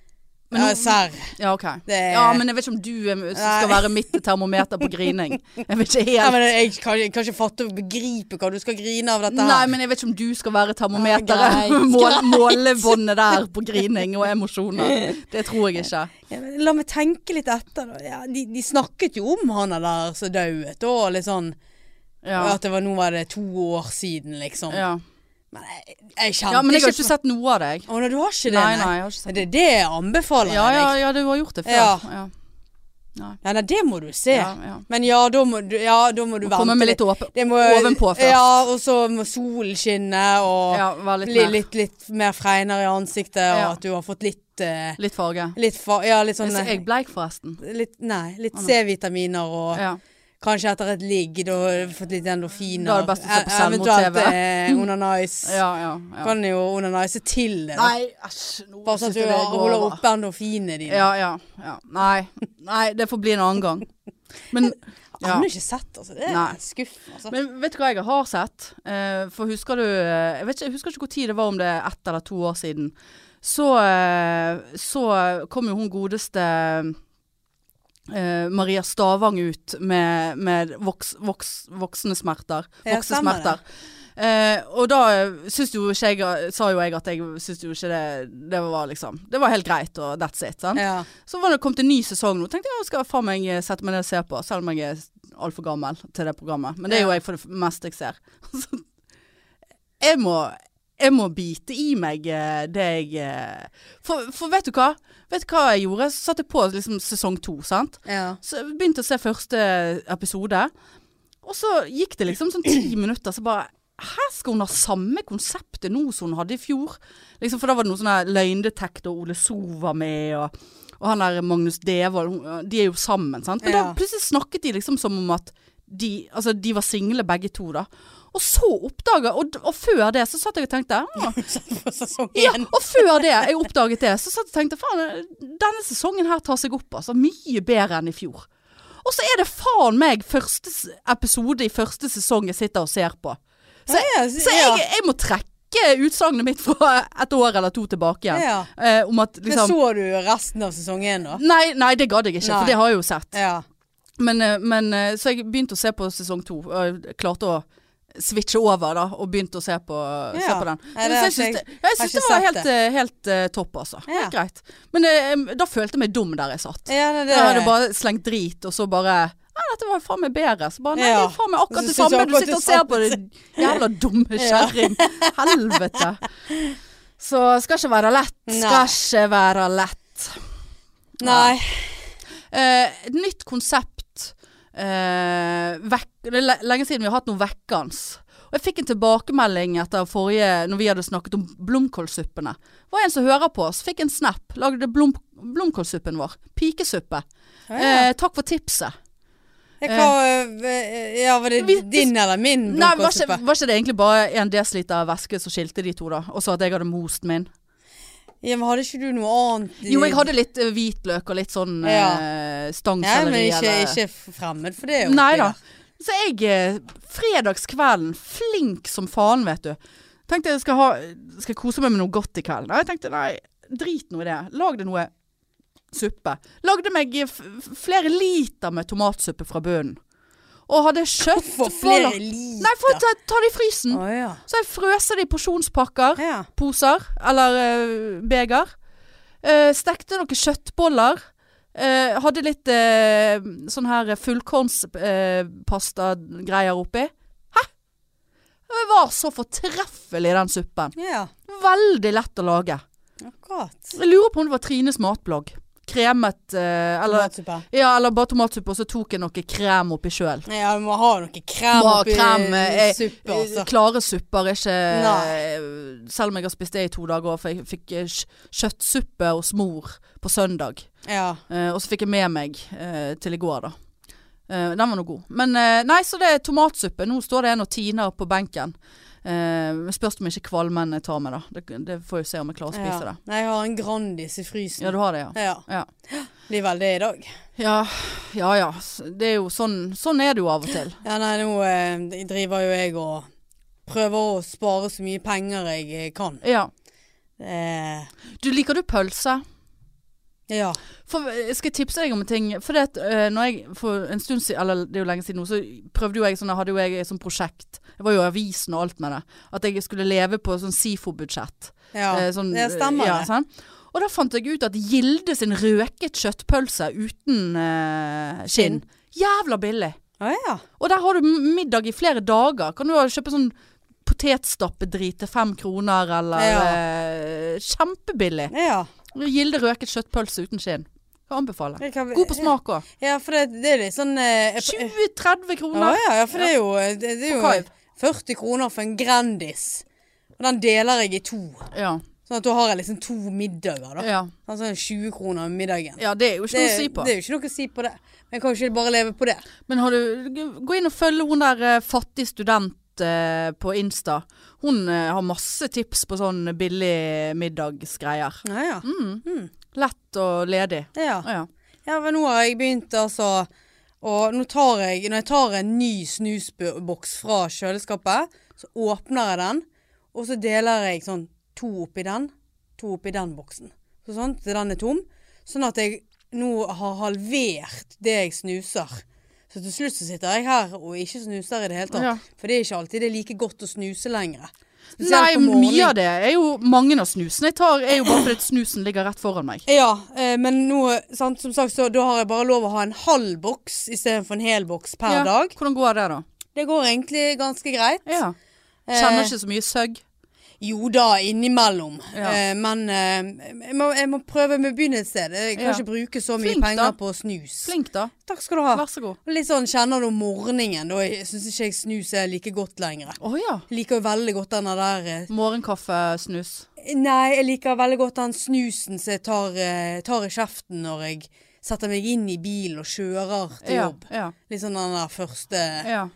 [SPEAKER 1] Men nå,
[SPEAKER 2] serr.
[SPEAKER 1] ja, ok.
[SPEAKER 2] Det-
[SPEAKER 1] Ja, men jeg vet ikke om du er, skal
[SPEAKER 2] Nei.
[SPEAKER 1] være mitt termometer på grining. Jeg vet ikke
[SPEAKER 2] Nei,
[SPEAKER 1] helt.
[SPEAKER 2] men jeg kan, jeg kan ikke fatte og begripe hva du skal grine av dette her.
[SPEAKER 1] Nei, men jeg vet ikke om du skal være
[SPEAKER 2] Ja,
[SPEAKER 1] termometeret.
[SPEAKER 2] greit,
[SPEAKER 1] <laughs> Mål,
[SPEAKER 2] greit.
[SPEAKER 1] målebåndet der på grining og emosjoner. Det tror jeg ikke.
[SPEAKER 2] Ja, men La meg tenke litt etter. Da. Ja, de, de snakket jo om han der som dauet, og litt sånn
[SPEAKER 1] Ja.
[SPEAKER 2] At det var, nå var det to år siden, liksom.
[SPEAKER 1] Ja.
[SPEAKER 2] Men jeg, jeg kjente
[SPEAKER 1] ja, men jeg har
[SPEAKER 2] ikke
[SPEAKER 1] ikke sett noe av deg.
[SPEAKER 2] Å, nei, du har ikke det?
[SPEAKER 1] Nei, nei, jeg har ikke sett
[SPEAKER 2] Det er det jeg anbefaler
[SPEAKER 1] Ja, ja,
[SPEAKER 2] deg.
[SPEAKER 1] ja, du har gjort det før.
[SPEAKER 2] Ja.
[SPEAKER 1] Ja.
[SPEAKER 2] Nei, nei, det må du se.
[SPEAKER 1] Ja, ja.
[SPEAKER 2] Men ja, da må du, ja, da må du vente
[SPEAKER 1] Komme med litt åp
[SPEAKER 2] Det må-
[SPEAKER 1] ovenpå først.
[SPEAKER 2] Ja, og så må solen skinne, og
[SPEAKER 1] Ja, være litt
[SPEAKER 2] bli
[SPEAKER 1] mer-
[SPEAKER 2] litt, litt mer fregnere i ansiktet, og
[SPEAKER 1] Ja.
[SPEAKER 2] at du har fått litt eh,
[SPEAKER 1] Litt farge.
[SPEAKER 2] Litt fa... Ja, litt sånn eh,
[SPEAKER 1] Så jeg bleik forresten.
[SPEAKER 2] litt, Nei, litt C-vitaminer og
[SPEAKER 1] Ja.
[SPEAKER 2] Kanskje etter et ligg, da har du fått litt endorfiner.
[SPEAKER 1] Da er det best å se på
[SPEAKER 2] E-
[SPEAKER 1] selvmord-TV.
[SPEAKER 2] Eventuelt eh, onanize.
[SPEAKER 1] <laughs> Ja, ja, ja.
[SPEAKER 2] Kan jo onanize til det. da.
[SPEAKER 1] Nei, æsj. nå
[SPEAKER 2] Bare sånn
[SPEAKER 1] synes
[SPEAKER 2] at
[SPEAKER 1] jeg
[SPEAKER 2] du
[SPEAKER 1] det
[SPEAKER 2] har-
[SPEAKER 1] går
[SPEAKER 2] holder
[SPEAKER 1] over.
[SPEAKER 2] oppe endorfinene dine.
[SPEAKER 1] Ja, ja. ja. Nei. Nei, det får bli en annen gang. Men
[SPEAKER 2] Jeg
[SPEAKER 1] ja.
[SPEAKER 2] har ikke sett, altså. Det er
[SPEAKER 1] Nei.
[SPEAKER 2] skuff, altså.
[SPEAKER 1] Men vet du hva jeg har sett? Eh, for husker du eh, Jeg, vet ikke, jeg husker ikke hvor tid det var, om det er ett eller to år siden. Så, eh, så kom jo hun godeste eh, Maria Stavang ut med, med voks, voks, voksne smerter.
[SPEAKER 2] Ja,
[SPEAKER 1] Voksne
[SPEAKER 2] stemmer det.
[SPEAKER 1] smerter. Eh, og da eh, syns jo ikke jeg Sa jo jeg at jeg syns jo ikke det Det var liksom Det var helt greit, og that's it. Sant?
[SPEAKER 2] ja.
[SPEAKER 1] Så var det kommet en ny sesong nå. Tenkte jeg skal faen meg eh, sette meg ned og se på, selv om jeg er altfor gammel til det programmet. Men det er jo
[SPEAKER 2] Ja.
[SPEAKER 1] jeg for det meste jeg ser. <laughs> Så jeg må, jeg må bite i meg eh, det jeg eh, for, for vet du hva? Vet du hva jeg gjorde? Så satte jeg på liksom sesong to, sant.
[SPEAKER 2] <laughs> ja.
[SPEAKER 1] Så jeg begynte å se første episode. Og så gikk det liksom sånn ti minutter, så bare Hæ, skal hun ha samme konseptet nå som hun hadde i fjor? Liksom, for da var det noe sånn her løgndetektor Ole So var med, og, og han der Magnus Devold hun- De er jo sammen, sant? Men
[SPEAKER 2] Ja.
[SPEAKER 1] da plutselig snakket de liksom som om at de, altså, de var single begge to, da. Og så oppdaga og, d- og før det så satt jeg og tenkte ah,
[SPEAKER 2] For sesong
[SPEAKER 1] ja,
[SPEAKER 2] én.
[SPEAKER 1] og før det, jeg oppdaget det, så satt jeg og tenkte faen, denne sesongen her tar seg opp altså, mye bedre enn i fjor. Og så er det faen meg første s- episode i første sesong jeg sitter og ser på. Så,
[SPEAKER 2] Ja, ja,
[SPEAKER 1] så
[SPEAKER 2] ja.
[SPEAKER 1] jeg, jeg må trekke utsagnet mitt fra et år eller to tilbake igjen.
[SPEAKER 2] Ja.
[SPEAKER 1] Eh, om at
[SPEAKER 2] Men
[SPEAKER 1] liksom
[SPEAKER 2] så du resten av sesong én, da?
[SPEAKER 1] Nei, nei, det gadd jeg ikke,
[SPEAKER 2] Nei.
[SPEAKER 1] for det har jeg jo sett.
[SPEAKER 2] Ja.
[SPEAKER 1] Men, eh, men eh, så jeg begynte å se på sesong to. Og jeg klarte å switche over da, og begynte å se på, se
[SPEAKER 2] Ja.
[SPEAKER 1] på den.
[SPEAKER 2] Nei,
[SPEAKER 1] Men
[SPEAKER 2] det
[SPEAKER 1] så
[SPEAKER 2] har
[SPEAKER 1] jeg syns
[SPEAKER 2] ikke
[SPEAKER 1] det,
[SPEAKER 2] jeg-
[SPEAKER 1] jeg
[SPEAKER 2] har
[SPEAKER 1] syns
[SPEAKER 2] ikke
[SPEAKER 1] det var
[SPEAKER 2] sett
[SPEAKER 1] helt,
[SPEAKER 2] det.
[SPEAKER 1] eh, helt eh, topp, altså.
[SPEAKER 2] Ja.
[SPEAKER 1] Helt greit. Men eh, da følte jeg meg dum der jeg satt.
[SPEAKER 2] ja nei, det,
[SPEAKER 1] Jeg hadde bare slengt drit, og så bare Nei, dette var faen meg bedre. Så bare Nei, det
[SPEAKER 2] Ja.
[SPEAKER 1] er faen meg
[SPEAKER 2] Og så
[SPEAKER 1] akkurat det
[SPEAKER 2] synes du
[SPEAKER 1] samme. Du
[SPEAKER 2] akkurat
[SPEAKER 1] sitter og
[SPEAKER 2] det
[SPEAKER 1] ser
[SPEAKER 2] samme.
[SPEAKER 1] på det, <laughs> jævla dumme kjerring.
[SPEAKER 2] <laughs>
[SPEAKER 1] Helvete. Så skal ikke være lett.
[SPEAKER 2] Nei.
[SPEAKER 1] Skal ikke være lett.
[SPEAKER 2] Nei.
[SPEAKER 1] Eh, et nytt konsept. Eh, vekk, det er le- lenge siden vi har hatt noe vekkende. Og jeg fikk en tilbakemelding etter forrige, når vi hadde snakket om blomkålsuppene. Det var en som hører på oss, fikk en snap. Lagde blom, blomkålsuppen vår. Pikesuppe. Eh, takk for tipset.
[SPEAKER 2] Ja, hva, eh, ja, var det
[SPEAKER 1] Vi-
[SPEAKER 2] din eller min
[SPEAKER 1] Nei, var ikke,
[SPEAKER 2] blomkålsuppe?
[SPEAKER 1] var ikke det egentlig bare en desiliter væske som skilte de to, da? Og så at jeg hadde most min?
[SPEAKER 2] Ja, men hadde ikke du noe annet? i-
[SPEAKER 1] Jo, jeg hadde litt eh, hvitløk og litt sånn
[SPEAKER 2] Ja.
[SPEAKER 1] eh,
[SPEAKER 2] ja, men
[SPEAKER 1] stangselleri.
[SPEAKER 2] ikke,
[SPEAKER 1] eller-
[SPEAKER 2] ikke fremmed for det. er jo
[SPEAKER 1] Nei
[SPEAKER 2] oppi
[SPEAKER 1] da.
[SPEAKER 2] der.
[SPEAKER 1] Så jeg eh, Fredagskvelden, flink som faen, vet du. Tenkte jeg skal, ha, skal jeg kose meg med noe godt i kveld. Nei, jeg tenkte nei, drit nå i det. Lag det noe suppe. Lagde meg eh, f f- flere liter med tomatsuppe fra bunnen. Og hadde kjøtt
[SPEAKER 2] <laughs> For flere liter.
[SPEAKER 1] Nei, for å ta, ta det i frysen.
[SPEAKER 2] Å ja.
[SPEAKER 1] Så jeg frøser det i porsjonspakker.
[SPEAKER 2] ja.
[SPEAKER 1] Poser, eller eh, beger. Eh, stekte noen kjøttboller. Eh, hadde litt eh, sånn her fullkornspastagreier oppi. Hæ? Det var så fortreffelig, den suppen.
[SPEAKER 2] Ja,
[SPEAKER 1] Veldig lett å lage.
[SPEAKER 2] akkurat.
[SPEAKER 1] Jeg lurer på om det var Trines matblogg. kremet eh, eller,
[SPEAKER 2] Matsuppe.
[SPEAKER 1] ja, eller bare tomatsuppe, og så tok jeg noe krem oppi sjøl.
[SPEAKER 2] Nei, Ja, du må ha noe krem
[SPEAKER 1] Må ha
[SPEAKER 2] oppi
[SPEAKER 1] krem, eh,
[SPEAKER 2] suppe, altså.
[SPEAKER 1] Klare supper er ikke
[SPEAKER 2] Nei.
[SPEAKER 1] Selv om jeg har spist det i to dager, for jeg fikk eh, kj- kjøttsuppe hos mor på søndag.
[SPEAKER 2] Ja.
[SPEAKER 1] Eh, og så fikk jeg med meg eh, til i går, da. Eh, den var nå god. Men eh, nei, så det er tomatsuppe. Nå står det en og tiner på benken. Eh, men spørs om ikke kvalmen jeg tar med, da. Det, det får jeg se om jeg klarer å spise
[SPEAKER 2] ja.
[SPEAKER 1] det.
[SPEAKER 2] Nei, jeg har en Grandis i frysen.
[SPEAKER 1] Ja, du har det, ja.
[SPEAKER 2] Ja,
[SPEAKER 1] Ja
[SPEAKER 2] blir vel det i dag.
[SPEAKER 1] ja, ja. ja. S- Det er jo sånn, sånn er det jo av og til.
[SPEAKER 2] Ja, nei, nå eh, driver jo jeg og prøver å spare så mye penger jeg eh, kan.
[SPEAKER 1] Ja.
[SPEAKER 2] Eh,
[SPEAKER 1] Du, liker du pølse?
[SPEAKER 2] ja.
[SPEAKER 1] For, jeg skal tipse deg om en ting. For, det, at, eh, når jeg, for en stund siden, eller det er jo lenge siden nå, så prøvde jo jeg sånn, hadde jo jeg som prosjekt, jeg var jo i avisen og alt med det, at jeg skulle leve på sånn SIFO-budsjett.
[SPEAKER 2] ja.
[SPEAKER 1] Eh, sånn,
[SPEAKER 2] det stemmer
[SPEAKER 1] ja,
[SPEAKER 2] det.
[SPEAKER 1] sånn. Og da fant jeg ut at Gilde sin røket kjøttpølse uten eh, skinn,
[SPEAKER 2] Skinn.
[SPEAKER 1] jævla billig.
[SPEAKER 2] Å ja.
[SPEAKER 1] Og der har du m- middag i flere dager. Kan du ha- kjøpe sånn potetstappedrit til fem kroner, eller
[SPEAKER 2] Ja.
[SPEAKER 1] eh, Kjempebillig.
[SPEAKER 2] ja.
[SPEAKER 1] Gilde røket kjøttpølse uten skinn. Kan anbefale.
[SPEAKER 2] Jeg kan-
[SPEAKER 1] God på smak òg.
[SPEAKER 2] Ja, for det, det er litt sånn eh, jeg-
[SPEAKER 1] 20-30
[SPEAKER 2] Ja,
[SPEAKER 1] kroner.
[SPEAKER 2] ja, ja, for det er jo, eh, det, det er
[SPEAKER 1] Og
[SPEAKER 2] jo
[SPEAKER 1] kaiv.
[SPEAKER 2] 40 kroner for en Grandis. Og den deler jeg i to.
[SPEAKER 1] Ja.
[SPEAKER 2] Sånn at da har jeg liksom to middager, da.
[SPEAKER 1] ja.
[SPEAKER 2] Altså 20 kroner om middagen.
[SPEAKER 1] Ja, det er jo ikke
[SPEAKER 2] det,
[SPEAKER 1] noe å si på.
[SPEAKER 2] det er jo ikke noe å si på det. Men jeg kan jo ikke bare leve på det.
[SPEAKER 1] Men har du Gå inn og følg hun der eh, fattig student eh, på Insta. Hun eh, har masse tips på sånn billig middagsgreier.
[SPEAKER 2] Ja, ja.
[SPEAKER 1] Lett og ledig.
[SPEAKER 2] ja.
[SPEAKER 1] Ja.
[SPEAKER 2] Mm. ja men nå har jeg begynt, altså. Og nå tar jeg, når jeg tar en ny snusboks fra kjøleskapet, så åpner jeg den, og så deler jeg sånn to oppi den, to oppi den boksen. Så sånn til den er tom. Sånn at jeg nå har halvert det jeg snuser. Så til slutt så sitter jeg her og ikke snuser i det hele tatt.
[SPEAKER 1] Ja.
[SPEAKER 2] For det er ikke alltid det er like godt å snuse lenger. Spesielt
[SPEAKER 1] Nei,
[SPEAKER 2] på morgenen.
[SPEAKER 1] mye av det er jo Mange av snusene jeg tar, er jo bare fordi at snusen ligger rett foran meg.
[SPEAKER 2] Ja, eh, men nå, sant, som sagt, så da har jeg bare lov å ha en halv boks istedenfor en hel boks per
[SPEAKER 1] Ja,
[SPEAKER 2] dag.
[SPEAKER 1] Hvordan går det, da?
[SPEAKER 2] Det går egentlig ganske greit.
[SPEAKER 1] Ja.
[SPEAKER 2] Eh.
[SPEAKER 1] Kjenner ikke så mye søgg.
[SPEAKER 2] Jo da, innimellom.
[SPEAKER 1] Ja.
[SPEAKER 2] Eh, men eh, jeg, må, jeg må prøve med å begynne et sted. Jeg kan
[SPEAKER 1] Ja.
[SPEAKER 2] ikke bruke så mye
[SPEAKER 1] Flink, da.
[SPEAKER 2] penger på snus.
[SPEAKER 1] Flink, da.
[SPEAKER 2] Takk skal du ha.
[SPEAKER 1] Vær så god.
[SPEAKER 2] Og Litt sånn kjenner du om morgenen. Da jeg syns ikke jeg snus er like godt lenger.
[SPEAKER 1] Å ja.
[SPEAKER 2] Jeg liker jo veldig godt den der eh,
[SPEAKER 1] Morgenkaffesnus.
[SPEAKER 2] Nei, jeg liker veldig godt den snusen som jeg tar, eh, tar i kjeften når jeg setter meg inn i bilen og kjører til
[SPEAKER 1] Ja,
[SPEAKER 2] jobb.
[SPEAKER 1] ja,
[SPEAKER 2] Litt sånn den der første
[SPEAKER 1] ja.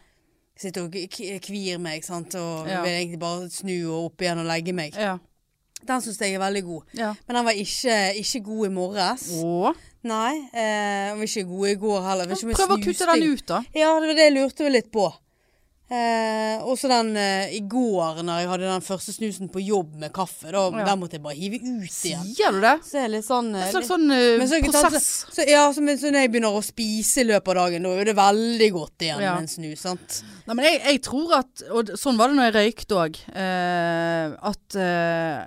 [SPEAKER 2] Sitter og k- kvir meg, sant, og
[SPEAKER 1] Ja.
[SPEAKER 2] vil egentlig bare snu og opp igjen og legge meg.
[SPEAKER 1] ja,
[SPEAKER 2] Den syns jeg er veldig god.
[SPEAKER 1] ja.
[SPEAKER 2] Men den var ikke, ikke god i morges.
[SPEAKER 1] Å.
[SPEAKER 2] Nei. Eh, den var ikke god i går heller. Vet ikke om jeg
[SPEAKER 1] Prøv å kutte
[SPEAKER 2] snuste.
[SPEAKER 1] den ut, da.
[SPEAKER 2] Ja, det var det jeg lurte meg litt på. Eh, også den eh, i går, når jeg hadde den første snusen på jobb med kaffe. Da,
[SPEAKER 1] Ja.
[SPEAKER 2] Den måtte jeg bare hive ut igjen.
[SPEAKER 1] Sier du det?
[SPEAKER 2] Så jeg er litt sånn, eh,
[SPEAKER 1] En slags
[SPEAKER 2] litt-
[SPEAKER 1] sånn eh,
[SPEAKER 2] Men så,
[SPEAKER 1] prosess.
[SPEAKER 2] Så, så, ja, så, men så når jeg begynner å spise i løpet av dagen, da er det veldig godt igjen
[SPEAKER 1] Ja.
[SPEAKER 2] med en snus. sant?
[SPEAKER 1] Nei, men jeg, jeg tror at Og d- sånn var det når jeg røykte òg. Eh, at eh,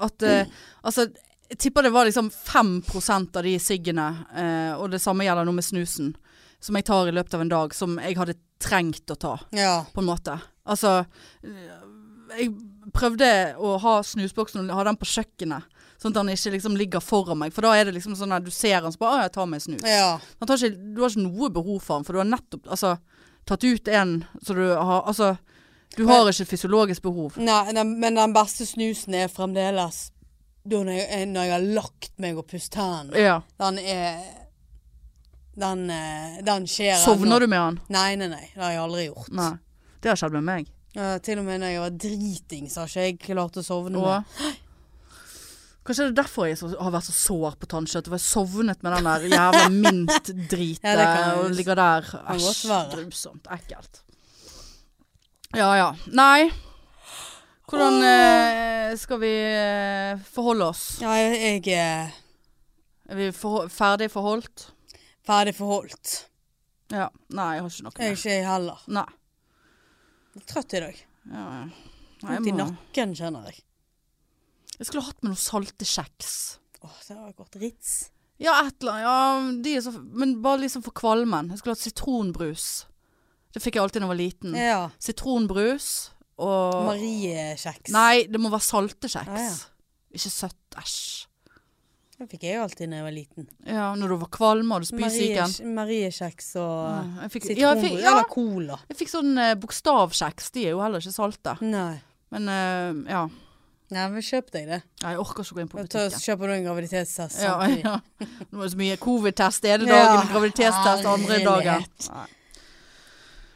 [SPEAKER 1] At eh, Altså, jeg tipper det var liksom 5 av de siggene, eh, og det samme gjelder nå med snusen, som jeg tar i løpet av en dag, som jeg hadde trengt å ta,
[SPEAKER 2] Ja.
[SPEAKER 1] på en måte. Altså eh, Jeg prøvde å ha snusboksen og ha den på kjøkkenet, sånn at den ikke liksom ligger foran meg. For da er det liksom sånn at du ser den, så bare Å, jeg tar meg en snus.
[SPEAKER 2] ja.
[SPEAKER 1] Han tar ikke, du har ikke noe behov for den, for du har nettopp altså, tatt ut en så du har Altså, du har ikke et fysiologisk behov.
[SPEAKER 2] Nei, den, men den beste snusen er fremdeles da når jeg, eh, når jeg har lagt meg og pusset hendene.
[SPEAKER 1] Ja.
[SPEAKER 2] Den er Den, eh, den skjer
[SPEAKER 1] Sovner du med han?
[SPEAKER 2] Nei, nei, nei. Det har jeg aldri gjort.
[SPEAKER 1] Nei. Det har skjedd med meg.
[SPEAKER 2] Eh, til og med når jeg var driting, så har ikke jeg klart å sovne.
[SPEAKER 1] Og,
[SPEAKER 2] med.
[SPEAKER 1] kanskje det er derfor jeg så, har vært så sår på tannkjøttet. For jeg sovnet med den der jævla mintdritet
[SPEAKER 2] Ja, det kan-
[SPEAKER 1] og ligger der.
[SPEAKER 2] godt
[SPEAKER 1] Æsj.
[SPEAKER 2] være.
[SPEAKER 1] Grusomt. Ekkelt. Ja ja. Nei. Hvordan eh, skal vi eh, forholde oss?
[SPEAKER 2] Ja, jeg, eh, jeg er
[SPEAKER 1] Er vi for, ferdig forholdt?
[SPEAKER 2] ferdig forholdt.
[SPEAKER 1] Ja. Nei, jeg har ikke noe
[SPEAKER 2] Jeg er
[SPEAKER 1] mer.
[SPEAKER 2] ikke jeg heller.
[SPEAKER 1] Nei.
[SPEAKER 2] Jeg er trøtt i dag.
[SPEAKER 1] Ja, ja. Nei,
[SPEAKER 2] Vondt
[SPEAKER 1] jeg,
[SPEAKER 2] i
[SPEAKER 1] må,
[SPEAKER 2] nakken, kjenner jeg.
[SPEAKER 1] jeg skulle hatt med noen salte kjeks.
[SPEAKER 2] Åh, det har gått rits.
[SPEAKER 1] Ja, et eller annet. Ja, de er så, men bare liksom for kvalmen. Jeg skulle hatt sitronbrus. Det fikk jeg alltid da jeg var liten.
[SPEAKER 2] Ja.
[SPEAKER 1] Sitronbrus og
[SPEAKER 2] Marie-kjeks.
[SPEAKER 1] Nei, det må være salte kjeks.
[SPEAKER 2] Ah, ja.
[SPEAKER 1] Ikke søtt. Æsj.
[SPEAKER 2] Det fikk jeg alltid da jeg var liten.
[SPEAKER 1] Ja, når du var kvalm og du spysyken.
[SPEAKER 2] Marie- Mariekjeks og
[SPEAKER 1] Ja, jeg fikk-
[SPEAKER 2] sitron
[SPEAKER 1] ja, jeg fikk- ja.
[SPEAKER 2] eller cola.
[SPEAKER 1] Jeg fikk sånn eh, bokstavkjeks, de er jo heller ikke salte.
[SPEAKER 2] Nei.
[SPEAKER 1] Men eh, ja.
[SPEAKER 2] Nei, men kjøp deg det.
[SPEAKER 1] Nei, Jeg orker ikke å gå inn på
[SPEAKER 2] Da tar-
[SPEAKER 1] butikken.
[SPEAKER 2] kjøper du en graviditetstest
[SPEAKER 1] Ja,
[SPEAKER 2] samtidig.
[SPEAKER 1] ja. <laughs> Nå er det så mye covid-test ene
[SPEAKER 2] Ja,
[SPEAKER 1] dagen, graviditetstest andre dagen.
[SPEAKER 2] herlighet.
[SPEAKER 1] Nei.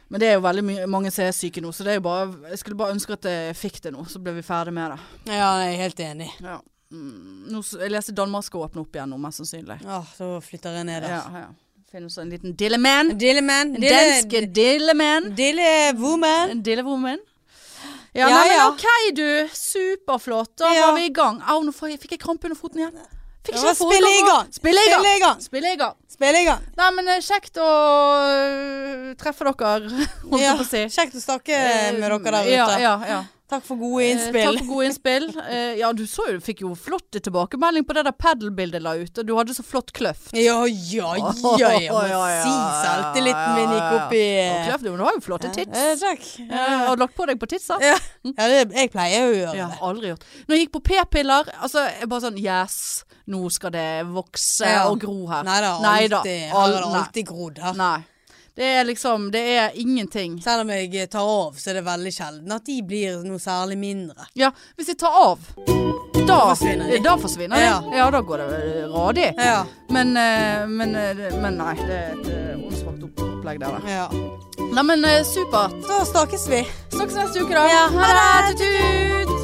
[SPEAKER 1] Men det er jo veldig mye- mange som er syke nå, så det er jo bare, jeg skulle bare ønske at jeg fikk det nå, så ble vi ferdig med det.
[SPEAKER 2] <laughs> Ja, jeg er helt enig.
[SPEAKER 1] Ja. Mm, nå, s- jeg leste Danmark skal åpne opp igjen nå, mest sannsynlig.
[SPEAKER 2] Åh, så flytter jeg ned der.
[SPEAKER 1] Ja, ja. Finnes en liten dilleman.
[SPEAKER 2] Dilleman.
[SPEAKER 1] En
[SPEAKER 2] Dille,
[SPEAKER 1] dansk dilleman.
[SPEAKER 2] Dillewoman.
[SPEAKER 1] En dillewoman. Ja,
[SPEAKER 2] Ja,
[SPEAKER 1] nei, men
[SPEAKER 2] ja.
[SPEAKER 1] OK, du. Superflott. Da
[SPEAKER 2] Ja.
[SPEAKER 1] var vi i gang. Au, nå får jeg- fikk jeg krampe under foten igjen. Fikk
[SPEAKER 2] Ja,
[SPEAKER 1] ikke forrige
[SPEAKER 2] spill i
[SPEAKER 1] gang.
[SPEAKER 2] gang.
[SPEAKER 1] Spill i
[SPEAKER 2] Spill i
[SPEAKER 1] gang.
[SPEAKER 2] gang.
[SPEAKER 1] Spill i gang.
[SPEAKER 2] Spiller i gang.
[SPEAKER 1] Nei, men eh, kjekt å øh, treffe dere, <laughs> holdt jeg
[SPEAKER 2] Ja,
[SPEAKER 1] på å si. Eh,
[SPEAKER 2] kjekt å snakke med dere der
[SPEAKER 1] Ja,
[SPEAKER 2] ute.
[SPEAKER 1] ja, ja.
[SPEAKER 2] Takk for gode
[SPEAKER 1] Eh,
[SPEAKER 2] innspill.
[SPEAKER 1] Takk for gode innspill. Eh, ja, du så jo, du fikk jo flott tilbakemelding på det der padelbildet la ut. Og du hadde så flott kløft.
[SPEAKER 2] <laughs> Ja, ja, ja, jeg må si selvtilliten min gikk opp i
[SPEAKER 1] Ja, kløft, jo, men du har jo flotte
[SPEAKER 2] Eh,
[SPEAKER 1] tits.
[SPEAKER 2] Takk.
[SPEAKER 1] Eh, Har du lagt på deg på titsa?
[SPEAKER 2] Ja, ja det, jeg pleier jo å gjøre
[SPEAKER 1] Ja,
[SPEAKER 2] det.
[SPEAKER 1] aldri gjort. Når jeg gikk på p-piller, altså jeg bare sånn Yes, nå skal det vokse
[SPEAKER 2] Ja.
[SPEAKER 1] eh, og gro her.
[SPEAKER 2] Nei da,
[SPEAKER 1] da,
[SPEAKER 2] alltid. Her har
[SPEAKER 1] al-
[SPEAKER 2] det
[SPEAKER 1] nei.
[SPEAKER 2] alltid grodd her.
[SPEAKER 1] Nei. Det er liksom Det er ingenting.
[SPEAKER 2] Selv om jeg eh, tar av, så er det veldig sjelden at de blir noe særlig mindre.
[SPEAKER 1] Ja, hvis jeg tar av, da
[SPEAKER 2] forsvinner de.
[SPEAKER 1] Da forsvinner de.
[SPEAKER 2] Ja.
[SPEAKER 1] Ja. da går det eh, radig.
[SPEAKER 2] Ja.
[SPEAKER 1] Men, eh, men, eh, det- men nei, det er et eh, åndssvakt opp- opplegg der, da.
[SPEAKER 2] ja.
[SPEAKER 1] Nei, men eh, supert.
[SPEAKER 2] Da snakkes vi.
[SPEAKER 1] Snakkes neste uke, da.
[SPEAKER 2] Ja, ha det.
[SPEAKER 1] Tutut.